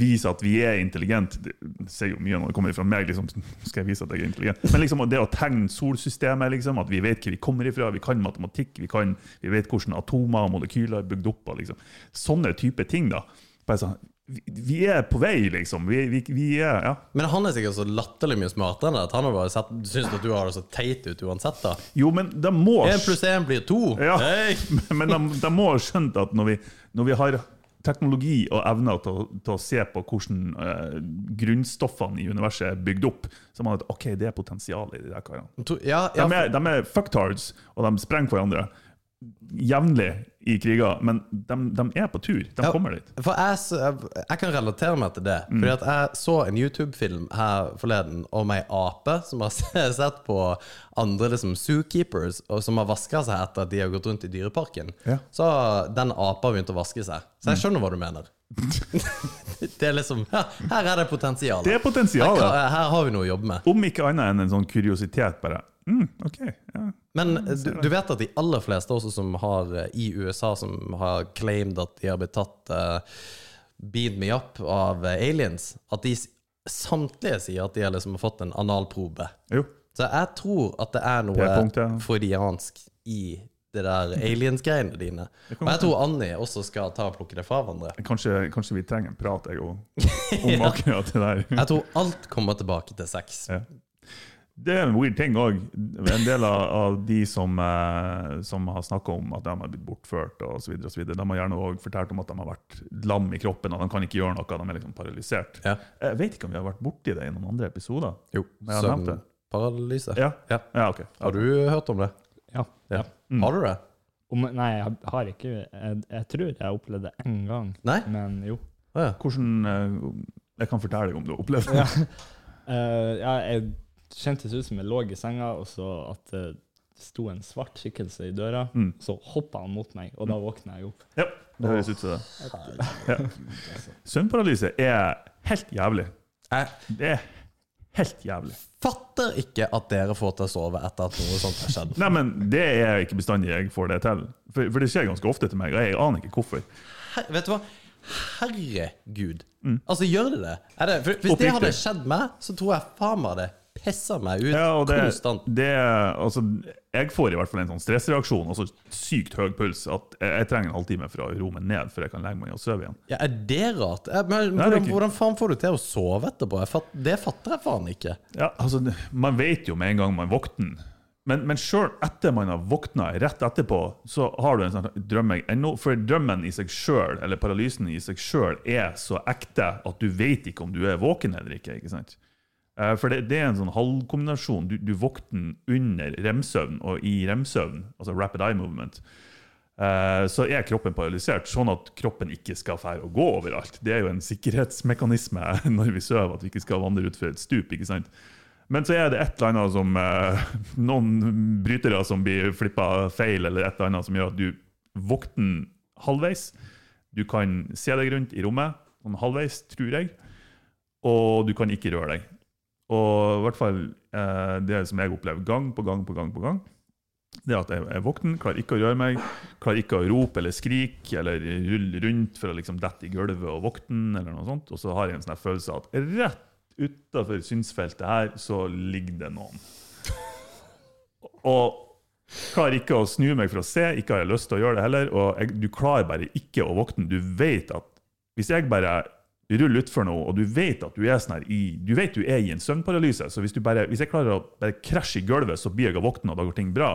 S4: vise at vi er intelligente. Det sier jo mye når det kommer fra meg. Liksom, skal jeg vise at jeg er intelligent? Men liksom, det å tegne solsystemet, liksom, at vi vet hvor vi kommer ifra, vi kan matematikk, vi, kan, vi vet hvordan atomer og molekyler er bygd opp av. Liksom. Sånne type ting. da. Bare sånn, vi, vi er på vei, liksom. Vi, vi, vi er, ja.
S3: Men han er sikkert så latterlig mye smartere enn det at han har bare sett, syns at du har det så teit ut uansett, da.
S4: Jo, men det må
S3: Én pluss én blir to.
S4: Ja,
S3: Hey!
S4: men de, de må ha skjønt at når vi, når vi har teknologi og evner til, å- til å se på hvordan eh, grunnstoffene i universet er bygd opp, så må man at ok, det er potensial i de der karene.
S3: To- Ja,
S4: De
S3: ja,
S4: er, de er fucktards, og de sprenger hverandre jevnlig i kriger, men de, de er på tur. De
S3: Ja.
S4: kommer dit. Mm.
S3: For jeg, s- jeg kan relatere meg til det. Fordi at jeg så en YouTube-film her forleden om ei ape som har s- sett på andre liksom, zookeepers, og som har vaska seg etter at de har gått rundt i dyreparken.
S4: Ja. Mm.
S3: Så den apa har begynt å vaske seg. Så jeg skjønner hva du mener. det er liksom ja, Her er det potensial.
S4: Det er
S3: her,
S4: potensialet.
S3: kan- her har vi noe å jobbe med.
S4: Om ikke annet enn en sånn kuriositet, bare. Mm, ok, ja.
S3: Men
S4: Mm,
S3: du, du vet at de aller fleste også som har eh, i USA som har claimed at de har blitt tatt eh, Beat me up av eh, aliens, at de s- samtlige sier at de har liksom fått en analprobe.
S4: Jo.
S3: Så jeg tror at det er
S4: P-punkt,
S3: noe
S4: ja. Mm.
S3: freudiansk i det der aliens-greiene dine. Og jeg tror Annie også skal ta og plukke det fra hverandre.
S4: Kanskje, kanskje vi trenger en prat, jeg òg, om akkurat det der.
S3: Jeg tror alt kommer tilbake til sex.
S4: Ja. Det er en weird ting òg. En del av, av de som, eh, som har snakka om at de har blitt bortført, og så videre, og så videre, de har gjerne òg fortalt om at de har vært lam i kroppen og de kan ikke gjøre noe. De er liksom paralysert.
S3: Ja.
S4: Jeg vet ikke om vi har vært borti det i noen andre episoder.
S3: Jo,
S4: Men jeg har nevnt det.
S3: søvnparalyse.
S4: Ja.
S3: Ja.
S4: Ja, ok.
S3: Har du hørt om det?
S5: Ja.
S3: Ja.
S5: ja.
S4: Mm.
S3: Har du det?
S5: Om, nei, jeg har ikke Jeg, jeg tror jeg opplevde det én gang,
S3: Nei?
S5: men jo.
S3: Å ja.
S4: Hvordan eh, Jeg kan fortelle deg om du har opplevd det.
S5: Ja. Eh, ja, jeg kjentes ut som jeg lå i senga, og så at det sto en svart skikkelse i døra.
S4: Mm.
S5: Så hoppa han mot meg, og da våkna jeg opp.
S4: Ja, det høres ut som det. Ja. Søvnparalyse er helt jævlig.
S3: Jeg
S4: Det er helt jævlig.
S3: fatter ikke at dere får til å sove etter at noe sånt har skjedd.
S4: Nei, men det er ikke bestandig jeg får det til. For, for det skjer ganske ofte til meg, og jeg aner ikke hvorfor.
S3: Her, vet du hva? Herregud. Altså, gjør det det? Er det for, hvis det
S4: Oppriktig.
S3: hadde skjedd meg, så tror jeg faen meg det pisser meg ut
S4: Ja, og det,
S3: konstant.
S4: det Altså, jeg får i hvert fall en sånn stressreaksjon og så sykt høy puls at jeg, jeg trenger en halvtime for å roe meg ned før jeg kan legge meg og sove igjen.
S3: Ja, er det rart? Eh, Men,
S4: Nei, det er
S3: hvordan,
S4: ikke-
S3: hvordan faen får du til å sove etterpå? Jeg fatt, det fatter jeg faen ikke.
S4: Ja, altså, Man vet jo med en gang man våkner. Men, men sjøl etter man har våkna rett etterpå, så har du en sånn drøm jeg ennå For drømmen i seg sjøl, eller paralysen i seg sjøl, er så ekte at du vet ikke om du er våken eller ikke. ikke sant? Eh, For det, det er en sånn halvkombinasjon. Du, du våkner under remsøvn og i remsøvn, altså rapid eye movement. Eh, Så er kroppen paralysert, sånn at kroppen ikke skal fære å gå overalt. Det er jo en sikkerhetsmekanisme når vi sover, at vi ikke skal vandre utfor et stup. ikke sant? Men så er det et eller annet som eh, Noen brytere som blir flippa feil, eller et eller annet som gjør at du våkner halvveis. Du kan se deg rundt i rommet, sånn halvveis, tror jeg, og du kan ikke røre deg. Og i hvert fall eh, det som jeg opplever gang på gang på gang på gang, det er at jeg er våken, klarer ikke å røre meg, klarer ikke å rope eller skrike eller rulle rundt for å liksom dette i gulvet og våkne, eller noe sånt. Og så har jeg en sånn her følelse av at rett utafor synsfeltet her, så ligger det noen. Og klarer ikke å snu meg for å se, ikke har jeg lyst til å gjøre det heller. Og jeg, du klarer bare ikke å våkne. Du vet at hvis jeg bare ruller utfor noe, og du vet at du er sånn her i Du vet du er i en søvnparalyse, så hvis, du bare, hvis jeg klarer å bare krasje i gulvet, så blir jeg å våkne, og da går ting bra.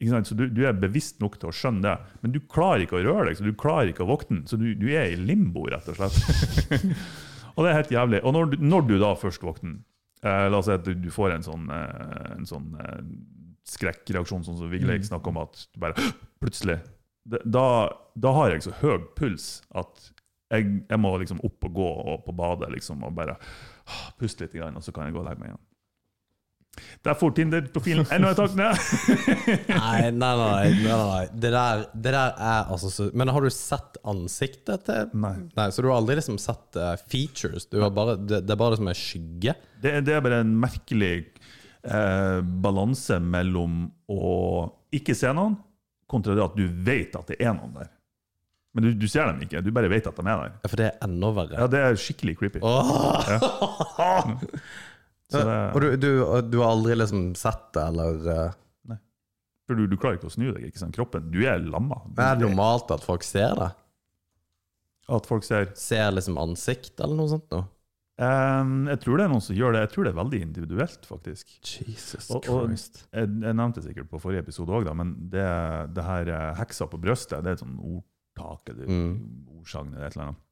S4: Ikke sant? Så du, du er bevisst nok til å skjønne det, men du klarer ikke å røre deg, så du klarer ikke å våkne. Så du, du er i limbo, rett og slett. og det er helt jævlig. Og når du, når du da først våkner, eh, la oss si at du, du får en sånn, eh, en sånn eh, skrekkreaksjon, sånn som Vigleik snakker om, at du bare plutselig det- da, da har jeg så høy puls at jeg, jeg må liksom opp og gå og på badet liksom, og bare ah, puste litt, grann, og så kan jeg gå og legge meg igjen. Der for Tinder-profilen enda et tak ned!
S3: Nei, nei, nei. nei, nei. Det, der, det der er altså så Men har du sett ansiktet til
S4: Nei.
S3: Så du har aldri liksom sett eh, features? Du har bare, det, det er bare det som er skygge?
S4: Det, det er bare en merkelig eh, balanse mellom å ikke se noen, kontra det at du vet at det er noen der. Men du, du ser dem ikke, du bare vet at de er der.
S3: Ja, for det er enda verre.
S4: Ja, Det er skikkelig creepy.
S3: Åh!
S4: Så det,
S3: Og du, du, du har aldri liksom sett det, eller eh,
S4: for du, du klarer ikke å snu deg. ikke sant? Kroppen, Du er lamma. Du-
S3: Er det normalt at folk ser det?
S4: At folk ser
S3: Ser liksom ansikt, eller noe sånt noe?
S4: Ehm, Jeg tror det er noen som gjør det. Jeg tror det er veldig individuelt, faktisk.
S3: Jesus
S4: Og- og-
S3: Christ.
S4: Jeg, jeg nevnte det sikkert på forrige episode òg, men det, det her eh, heksa på brøstet, det er et sånn ordtak eller
S3: Mm.
S4: ordsagn eller et eller annet.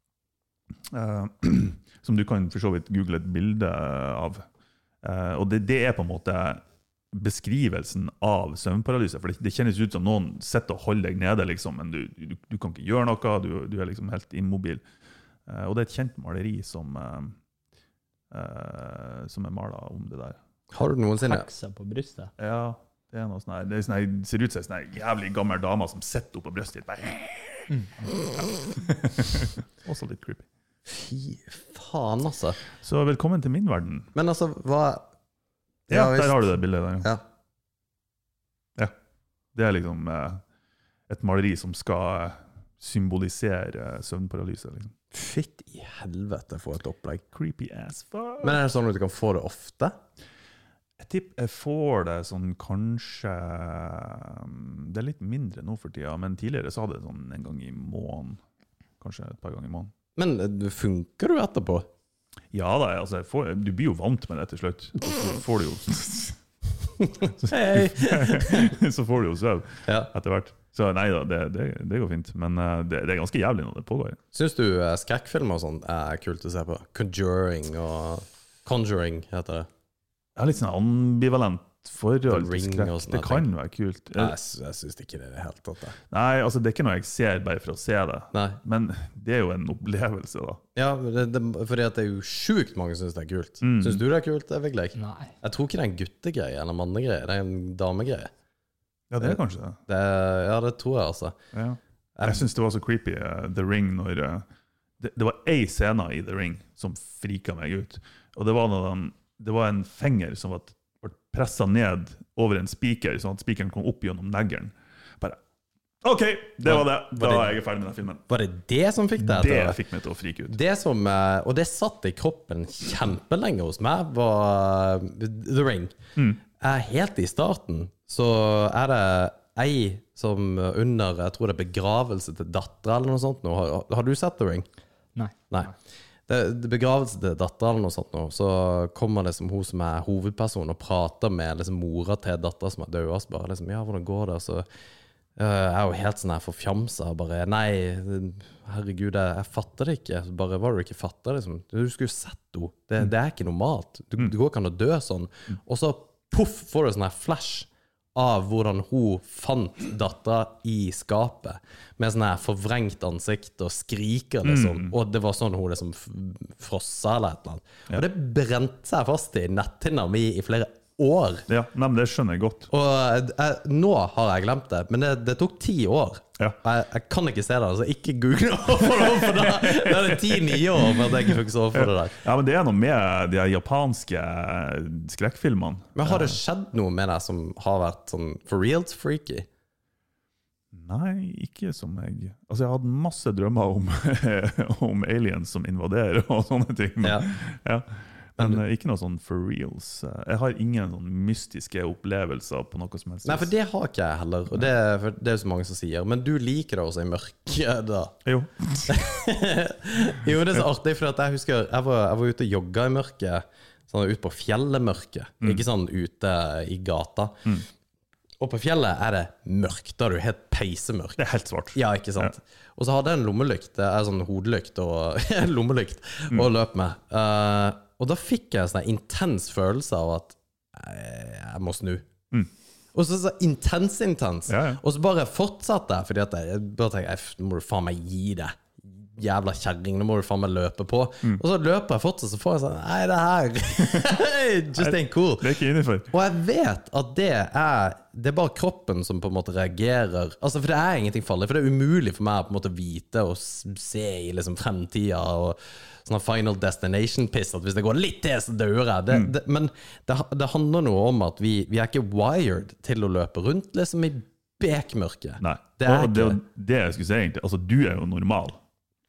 S4: Eh, som du kan for så vidt google et bilde av. Eh, og det, det er på en måte beskrivelsen av søvnparalyse. For det, det kjennes ut som noen sitter og holder deg nede, liksom, men du, du, du kan ikke gjøre noe. Du, du er liksom helt immobil. Eh, og det er et kjent maleri som, eh, eh, som er mala om det der.
S3: Har du noensinne
S5: Heksa på brystet.
S4: Ja, det er noe sånn her. Det er sånn her, ser ut som ei sånn her jævlig gammel dame som sitter oppå brystet ditt. Bare. Mm. Også litt creepy.
S3: Fy faen, altså.
S4: Så velkommen til min verden.
S3: Men altså, hva Ja,
S4: Ja,
S3: visst.
S4: Der har du det bildet. Der.
S3: Ja.
S4: Det er liksom eh, et maleri som skal eh, symbolisere eh, søvnparalyse. Liksom.
S3: Fytt i helvete for et opplegg.
S4: Creepy as fuck.
S3: Men er det sånn at du kan få det ofte?
S4: jeg tipper jeg får det sånn kanskje mm, Det er litt mindre nå for tida, men tidligere så hadde jeg det sånn en gang i måneden. Kanskje et par ganger i måneden.
S3: Men eh, funker du etterpå?
S4: Ja da, altså, jeg får, du blir jo vant med det til slutt. Og så får du jo,
S3: Hei!
S4: så får du jo søv
S3: Ja.
S4: etter hvert. Så nei da, det, det, det går fint. Men eh, det, det er ganske jævlig når det pågår.
S3: Syns du eh, skrekkfilmer og sånn er kult å se på? Conjuring og Conjuring heter det.
S4: Jeg har litt sånn ambivalent forhold
S3: The
S4: til
S3: Ring
S4: skrekk.
S3: og sånne
S4: Det kan være kult.
S3: Jeg,
S4: Eh,
S3: sy- jeg syns ikke det i det hele tatt. jeg.
S4: Nei, altså det er ikke noe jeg ser bare for å se det.
S3: Nei.
S4: Men det er jo en opplevelse, da.
S3: Ja, det, det, fordi at det er jo sjukt mange som syns det er kult.
S4: Mm.
S3: Syns du det er kult, Vigleik?
S5: Nei.
S3: Jeg tror ikke det er en guttegreie eller mannegreie, det er en damegreie.
S4: Ja, det er kanskje det.
S3: Det, ja, det tror jeg, altså.
S4: Ja. Jeg syns det var så creepy, eh, The Ring, når eh, det, det var én scene i The Ring som frika meg ut. Og det var, når den, det var en fenger som var- ble pressa ned over en spiker, sånn at spikeren kom opp gjennom neglen. Bare OK, det var det. Da
S3: det-
S4: er jeg ferdig med den filmen.
S3: Var det det som fikk deg
S4: Det
S3: til å
S4: fikk meg til å frike ut.
S3: Det som eh, Og det satt i kroppen kjempelenge hos meg, var eh, The Ring.
S4: Mm.
S3: Eh, Helt i starten så er det ei som under Jeg tror det er begravelse til dattera eller noe sånt. Nå. Har, har du sett The Ring?
S5: Nei.
S3: Nei. Det, det begravelse til dattera eller noe sånt, nå, så kommer det som hun som er hovedperson, og prater med liksom, mora til dattera som er død. og så Bare liksom, ja, hvordan går det? Og så øh, er hun helt sånn her forfjamsa. Bare nei, herregud, jeg, jeg fatter det ikke. Så Bare hva du ikke fatter, liksom. Du skulle jo sett henne. Det, det er ikke normalt. Du, det går ikke an å dø sånn. Og så poff, får du sånn her flash av hvordan hun fant dattera i skapet, med sånn her forvrengt ansikt og skriker, liksom. Og det var sånn hun liksom f- frossa eller et eller annet. Og det brente seg fast i netthinna mi i flere år.
S4: Ja, nei, men det skjønner jeg godt.
S3: Og jeg, nå har jeg glemt det, men det, det tok ti år.
S4: Ja.
S3: Jeg, jeg kan ikke se det, så ikke google overfor det, for da da er det ti-ni år for at jeg ikke fikk sove for det der.
S4: Ja, men Det er noe med de her japanske uh, skrekkfilmene.
S3: Men har det skjedd noe med deg som har vært sånn for reals freaky?
S4: Nei, ikke som jeg Altså, jeg har hatt masse drømmer om, om aliens som invaderer og sånne ting. Men,
S3: Ja.
S4: ja. men eh, ikke noe sånn for reals. Eh, Jeg har ingen sånn mystiske opplevelser på noe som helst.
S3: Nei, for det har ikke jeg heller. Og det, for det er jo så mange som sier. Men du liker det også i mørket, da.
S4: Jo.
S3: Jo, det er så artig, for at jeg husker jeg var, jeg var ute og jogga i mørket. Sånn ut på fjellet mørket, ikke sånn ute i gata. Og på fjellet er det mørkt. Da er du helt peisemørk.
S4: Det er helt svart.
S3: Ja, ikke sant. Og så hadde jeg en lommelykt, eh, en sånn hodelykt og en lommelykt, og løp med. Eh, og da fikk jeg en sånn intens følelse av at eh, jeg må snu. Og så så intens, intens.
S4: Ja, ja.
S3: Og så bare fortsatte jeg, fordi at jeg jeg bare tenkte "Eff, nå må du faen meg gi det. Jævla kjerring, nå må du faen meg løpe på. Og så løper jeg fortsatt, så får jeg sånn Nei, det her Just ain't cool.
S4: Det er ikke innafor.
S3: Og jeg vet at det er Det er bare kroppen som på en måte reagerer Altså For det er ingenting farlig, for det er umulig for meg å på en måte vite og s- se i liksom fremtida og sånn Final Destination-piss at hvis det går litt til, så dør jeg. Det,
S4: Mm.
S3: det, men det, ha- det handler noe om at vi, vi er ikke wired til å løpe rundt liksom i bekmørket.
S4: Nei.
S3: Det er
S4: og det, er
S3: ikke-
S4: jo det jeg skulle si, egentlig. Altså, du er jo normal.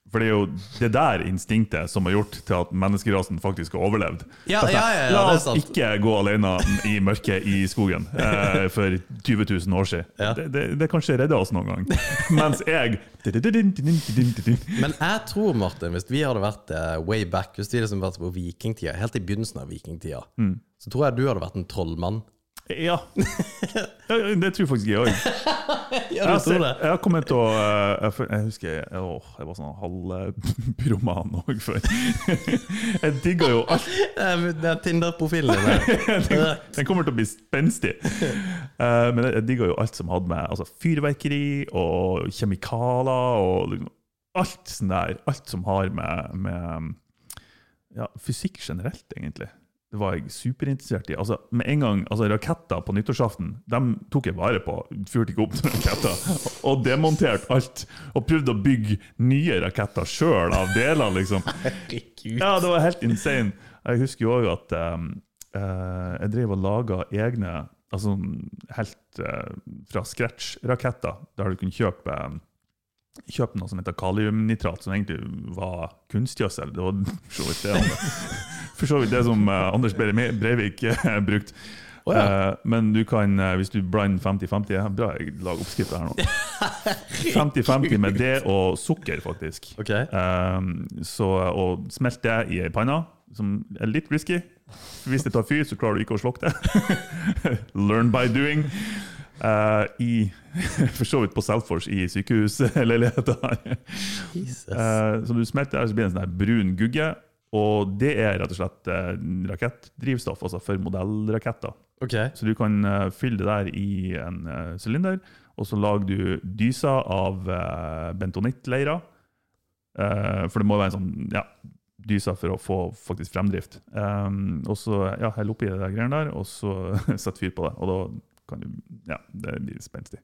S4: For det er jo det der instinktet som har gjort til at menneskerasen faktisk har overlevd.
S3: Ja,
S4: Altså,
S3: ja, ja, ja,
S4: La
S3: det er
S4: oss
S3: sant.
S4: ikke gå alene i mørket i skogen eh, for 20 000 år siden.
S3: Ja.
S4: Det, det, det kanskje redda oss noen gang. Mens jeg
S3: Men jeg tror, Martin, hvis vi hadde vært eh, way back, hvis vi liksom vært på vikingtida, helt i begynnelsen av vikingtida,
S4: Mm.
S3: så tror jeg du hadde vært en trollmann.
S4: Ja. Ja, Det tror faktisk jeg òg.
S3: Ja,
S4: Jeg, ser- jeg har kommet til å eh, jeg, føl- jeg husker jeg, åh, jeg var sånn halvpyroman òg før. Jeg digga jo alt
S3: Det er Tinder-profilen din. der.
S4: Den kommer til å bli spenstig. Eh, men jeg, jeg digga jo alt som hadde med altså, fyrverkeri og kjemikalier og liksom, alt sånn der. Alt som har med, med ja, fysikk generelt, egentlig. Det var jeg superinteressert i. Altså, med en gang, altså Raketter på nyttårsaften dem tok jeg vare på. Fyrte ikke opp noen raketter. Og demonterte alt. Og prøvde å bygge nye raketter sjøl av deler, liksom. Ja, det var helt insane. Jeg husker jo også at ehm, eh, jeg drev og laga egne altså sånn helt eh, fra scratch-raketter, der du kunne kjøpe ehm, Kjøpe noe som heter kaliumnitrat, som egentlig var kunstgjødsel. Det var for så vidt det, Anders- for så vidt det som eh, Anders Behre Breivik eh, brukte. Eh, men du kan, eh, hvis du blander 50-50 ja, Bra jeg lager oppskrifter her nå. 50-50 med det og sukker, faktisk.
S3: Ok.
S4: Ehm, Um, så, og smelt det i ei panne, som er litt risky. Hvis det tar fyr, så klarer du ikke å slokke det. Learn by doing. Eh, i, for så vidt på Selfors i sykehusleiligheter.
S3: Jesus.
S4: Eh, så du smelter der, så blir det en sånn her brun gugge. Og det er rett og slett eh, rakettdrivstoff, altså for modellraketter.
S3: OK.
S4: Så du kan eh, fylle det der i en eh, sylinder, og så lager du dyser av eh, bentonittleirer. Eh, for det må være en sånn ja, dyser for å få faktisk fremdrift. Um, og så ja, hell oppi det der greiene der, og så sett fyr på det. Og da kan du Ja, det blir spenstig.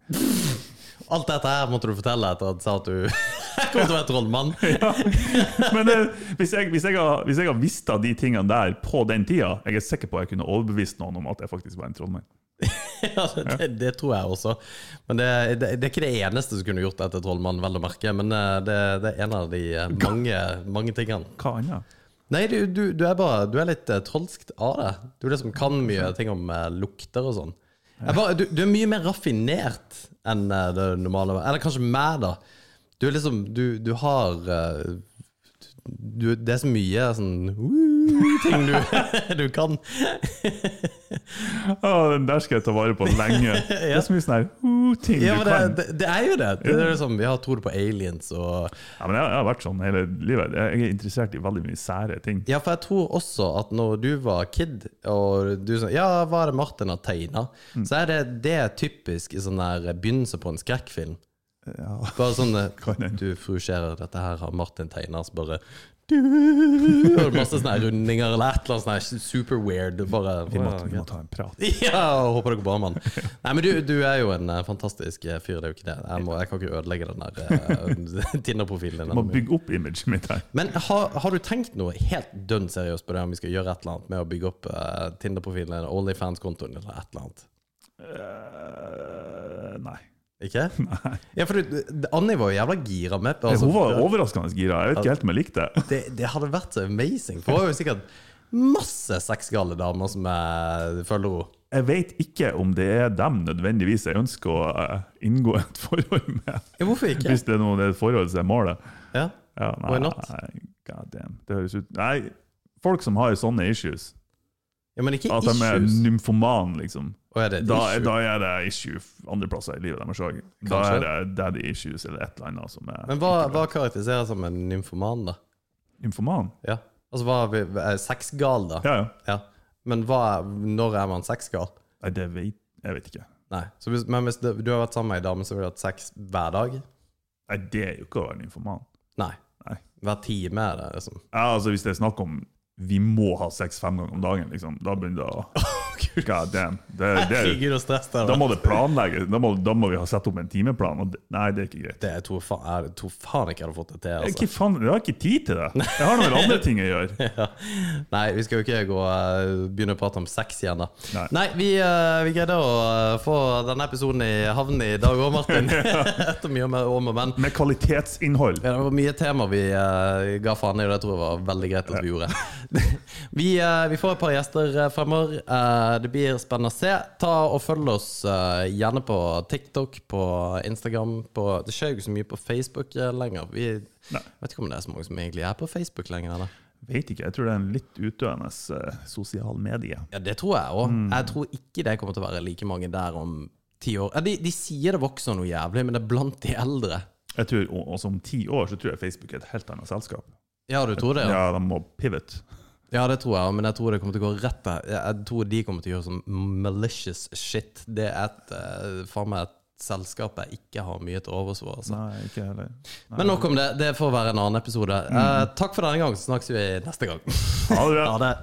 S3: Alt dette her måtte du fortelle etter at du sa at du kom til å være trollmann.
S4: Men eh, hvis, jeg, hvis, jeg har, hvis jeg har visst av de tingene der på den tida, jeg er sikker på at jeg kunne overbevist noen om at jeg faktisk var en trollmann.
S3: Ja, det, det tror jeg også. Men det, det, det er ikke det eneste som kunne gjort deg til trollmann, vel å merke. Men eh, det, det er en av de eh, mange, mange tingene.
S4: Hva annet?
S3: Nei, du, du, du, er bare, du er litt eh, trolskt av det. Du er det som kan mye ting om eh, lukter og sånn. Jeg Bare, du, du er mye mer raffinert enn eh, det normale. Eller kanskje meg, da. Du er liksom Du, du har eh, du, Det er så mye sånn uh, ting du, du kan.
S4: Å, den der skal jeg ta vare på lenge. Det er så mye sånn her uh, ting
S3: Ja,
S4: du
S3: men det,
S4: kan.
S3: det, det er jo det. det er liksom, ja, tror du på aliens og
S4: Ja, men jeg, jeg har vært sånn hele livet. Jeg jeg er interessert i veldig mye sære ting.
S3: Ja, for jeg tror også at når du var kid, og du sånn Ja, hva er det Martin har tegna?
S4: Mm.
S3: Så er det, det er typisk i sånn der begynnelse på en skrekkfilm.
S4: Ja.
S3: Bare sånn
S4: Kan
S3: eh,
S4: hende.
S3: Du, fru Scherer, dette her har Martin tegna, så bare du, og Masse sånne her rundinger eller et eller annet sånn her super weird. og Bare,
S4: Vi måtte, vi
S3: ja,
S4: må ta en prat.
S3: ja, håper dere bra, mann. Nei, men du, du er jo en eh, fantastisk eh, fyr, det er jo ikke det. Jeg, må, jeg kan ikke ødelegge den der eh, Tinder-profilen
S4: Vi må
S3: din.
S4: bygge opp imaget mitt her.
S3: Men har, har du tenkt noe helt dønn seriøst på det om vi skal gjøre et eller annet med å bygge opp eh, Tinder-profilen eller OnlyFans-kontoen eller et eller annet?
S4: Eh, nei.
S3: Ikke? Ja, for du, Annie var jo jævla gira med på altså,
S4: Hun var overraskende gira. Jeg vet ikke helt om jeg likte det.
S3: det, det hadde vært så amazing. For hun har jo sikkert masse sexgale damer som eh, følger henne.
S4: Jeg vet ikke om det er dem nødvendigvis jeg ønsker å eh, inngå et forhold med.
S3: Ja, hvorfor ikke?
S4: Hvis det er noe det er et forhold som er målet.
S3: Ja.
S4: Ja,
S3: Why not?
S4: God damn. Det høres ut Nei, folk som har sånne issues,
S3: ja, men ikke
S4: at de er
S3: issues.
S4: nymfoman, liksom
S3: Å, er det et
S4: da,
S3: issue?
S4: da er det issue andre plasser i livet deres òg. Da
S3: Kanskje.
S4: er det daddy issues eller et eller annet som er
S3: men hva, hva karakteriseres som en nymfoman, da?
S4: Infoman?
S3: Ja. Altså, hva er vi- er sexgal, da?
S4: Ja, ja.
S3: Ja. Men hva, er- når er man sexgal?
S4: Nei, det vet jeg vet ikke.
S3: Nei. Så hvis, men hvis det, du har vært sammen med ei dame som ville hatt sex hver dag?
S4: Nei, det er jo ikke å være en infoman.
S3: Nei.
S4: Nei.
S3: Hver time er det liksom
S4: Ja, altså Hvis det er snakk om vi må ha sex fem ganger om dagen, liksom, da begynner det å God damn. Det, det, er jo-
S3: Herregud, så stress det er.
S4: da må det planlegges. Da, må- da må vi ha satt opp en timeplan. Og det, nei, det er ikke greit.
S3: Det jeg tror faen, jeg tror faen ikke jeg hadde fått det til.
S4: Jeg,
S3: Altså.
S4: ikke faen, jeg har ikke tid til det. Jeg har noen andre ting jeg gjør.
S3: Nei, vi skal jo ikke gå, eh, begynne å prate om sex igjen, da.
S4: Nei.
S3: vi, eh, vi greide å eh, få denne episoden i havn i dag òg, Martin. Etter mye om om og men.
S4: Med kvalitetsinnhold.
S3: Ja, det var mye tema vi eh, ga faen i, og det tror jeg var veldig greit at vi gjorde. vi, eh, vi får et par gjester eh, fremover. Eh, det blir spennende å se. Ta og Følg oss eh, gjerne på TikTok, på Instagram på, Det skjer jo ikke så mye på Facebook eh, lenger. Vi
S4: Nei.
S3: vet ikke om det er så mange som egentlig er på Facebook lenger. Eller?
S4: Vet ikke, jeg tror det er en litt utdøende eh, sosial medie.
S3: Ja, det tror jeg òg.
S4: Mm.
S3: Jeg tror ikke det kommer til å være like mange der om ti år. Ja, de, de sier det vokser noe jævlig, men det er blant de eldre.
S4: Jeg tror, og, og som ti år så tror jeg Facebook er et helt annet selskap.
S3: Ja, du tror det?
S4: Ja,
S3: Ja,
S4: de må pivot.
S3: Ja, det tror jeg, men jeg tror det kommer til å gå rett der. Jeg tror de kommer til å gjøre sånn malicious shit. Det er et eh, faen meg et selskap jeg ikke har mye til overs for. Altså.
S4: Nei, ikke heller. Nei.
S3: Men nok om det. Det får være en annen episode. Eh, takk for denne gang, så snakkes vi neste gang.
S4: Ha det Mm. bra.
S3: Ha det.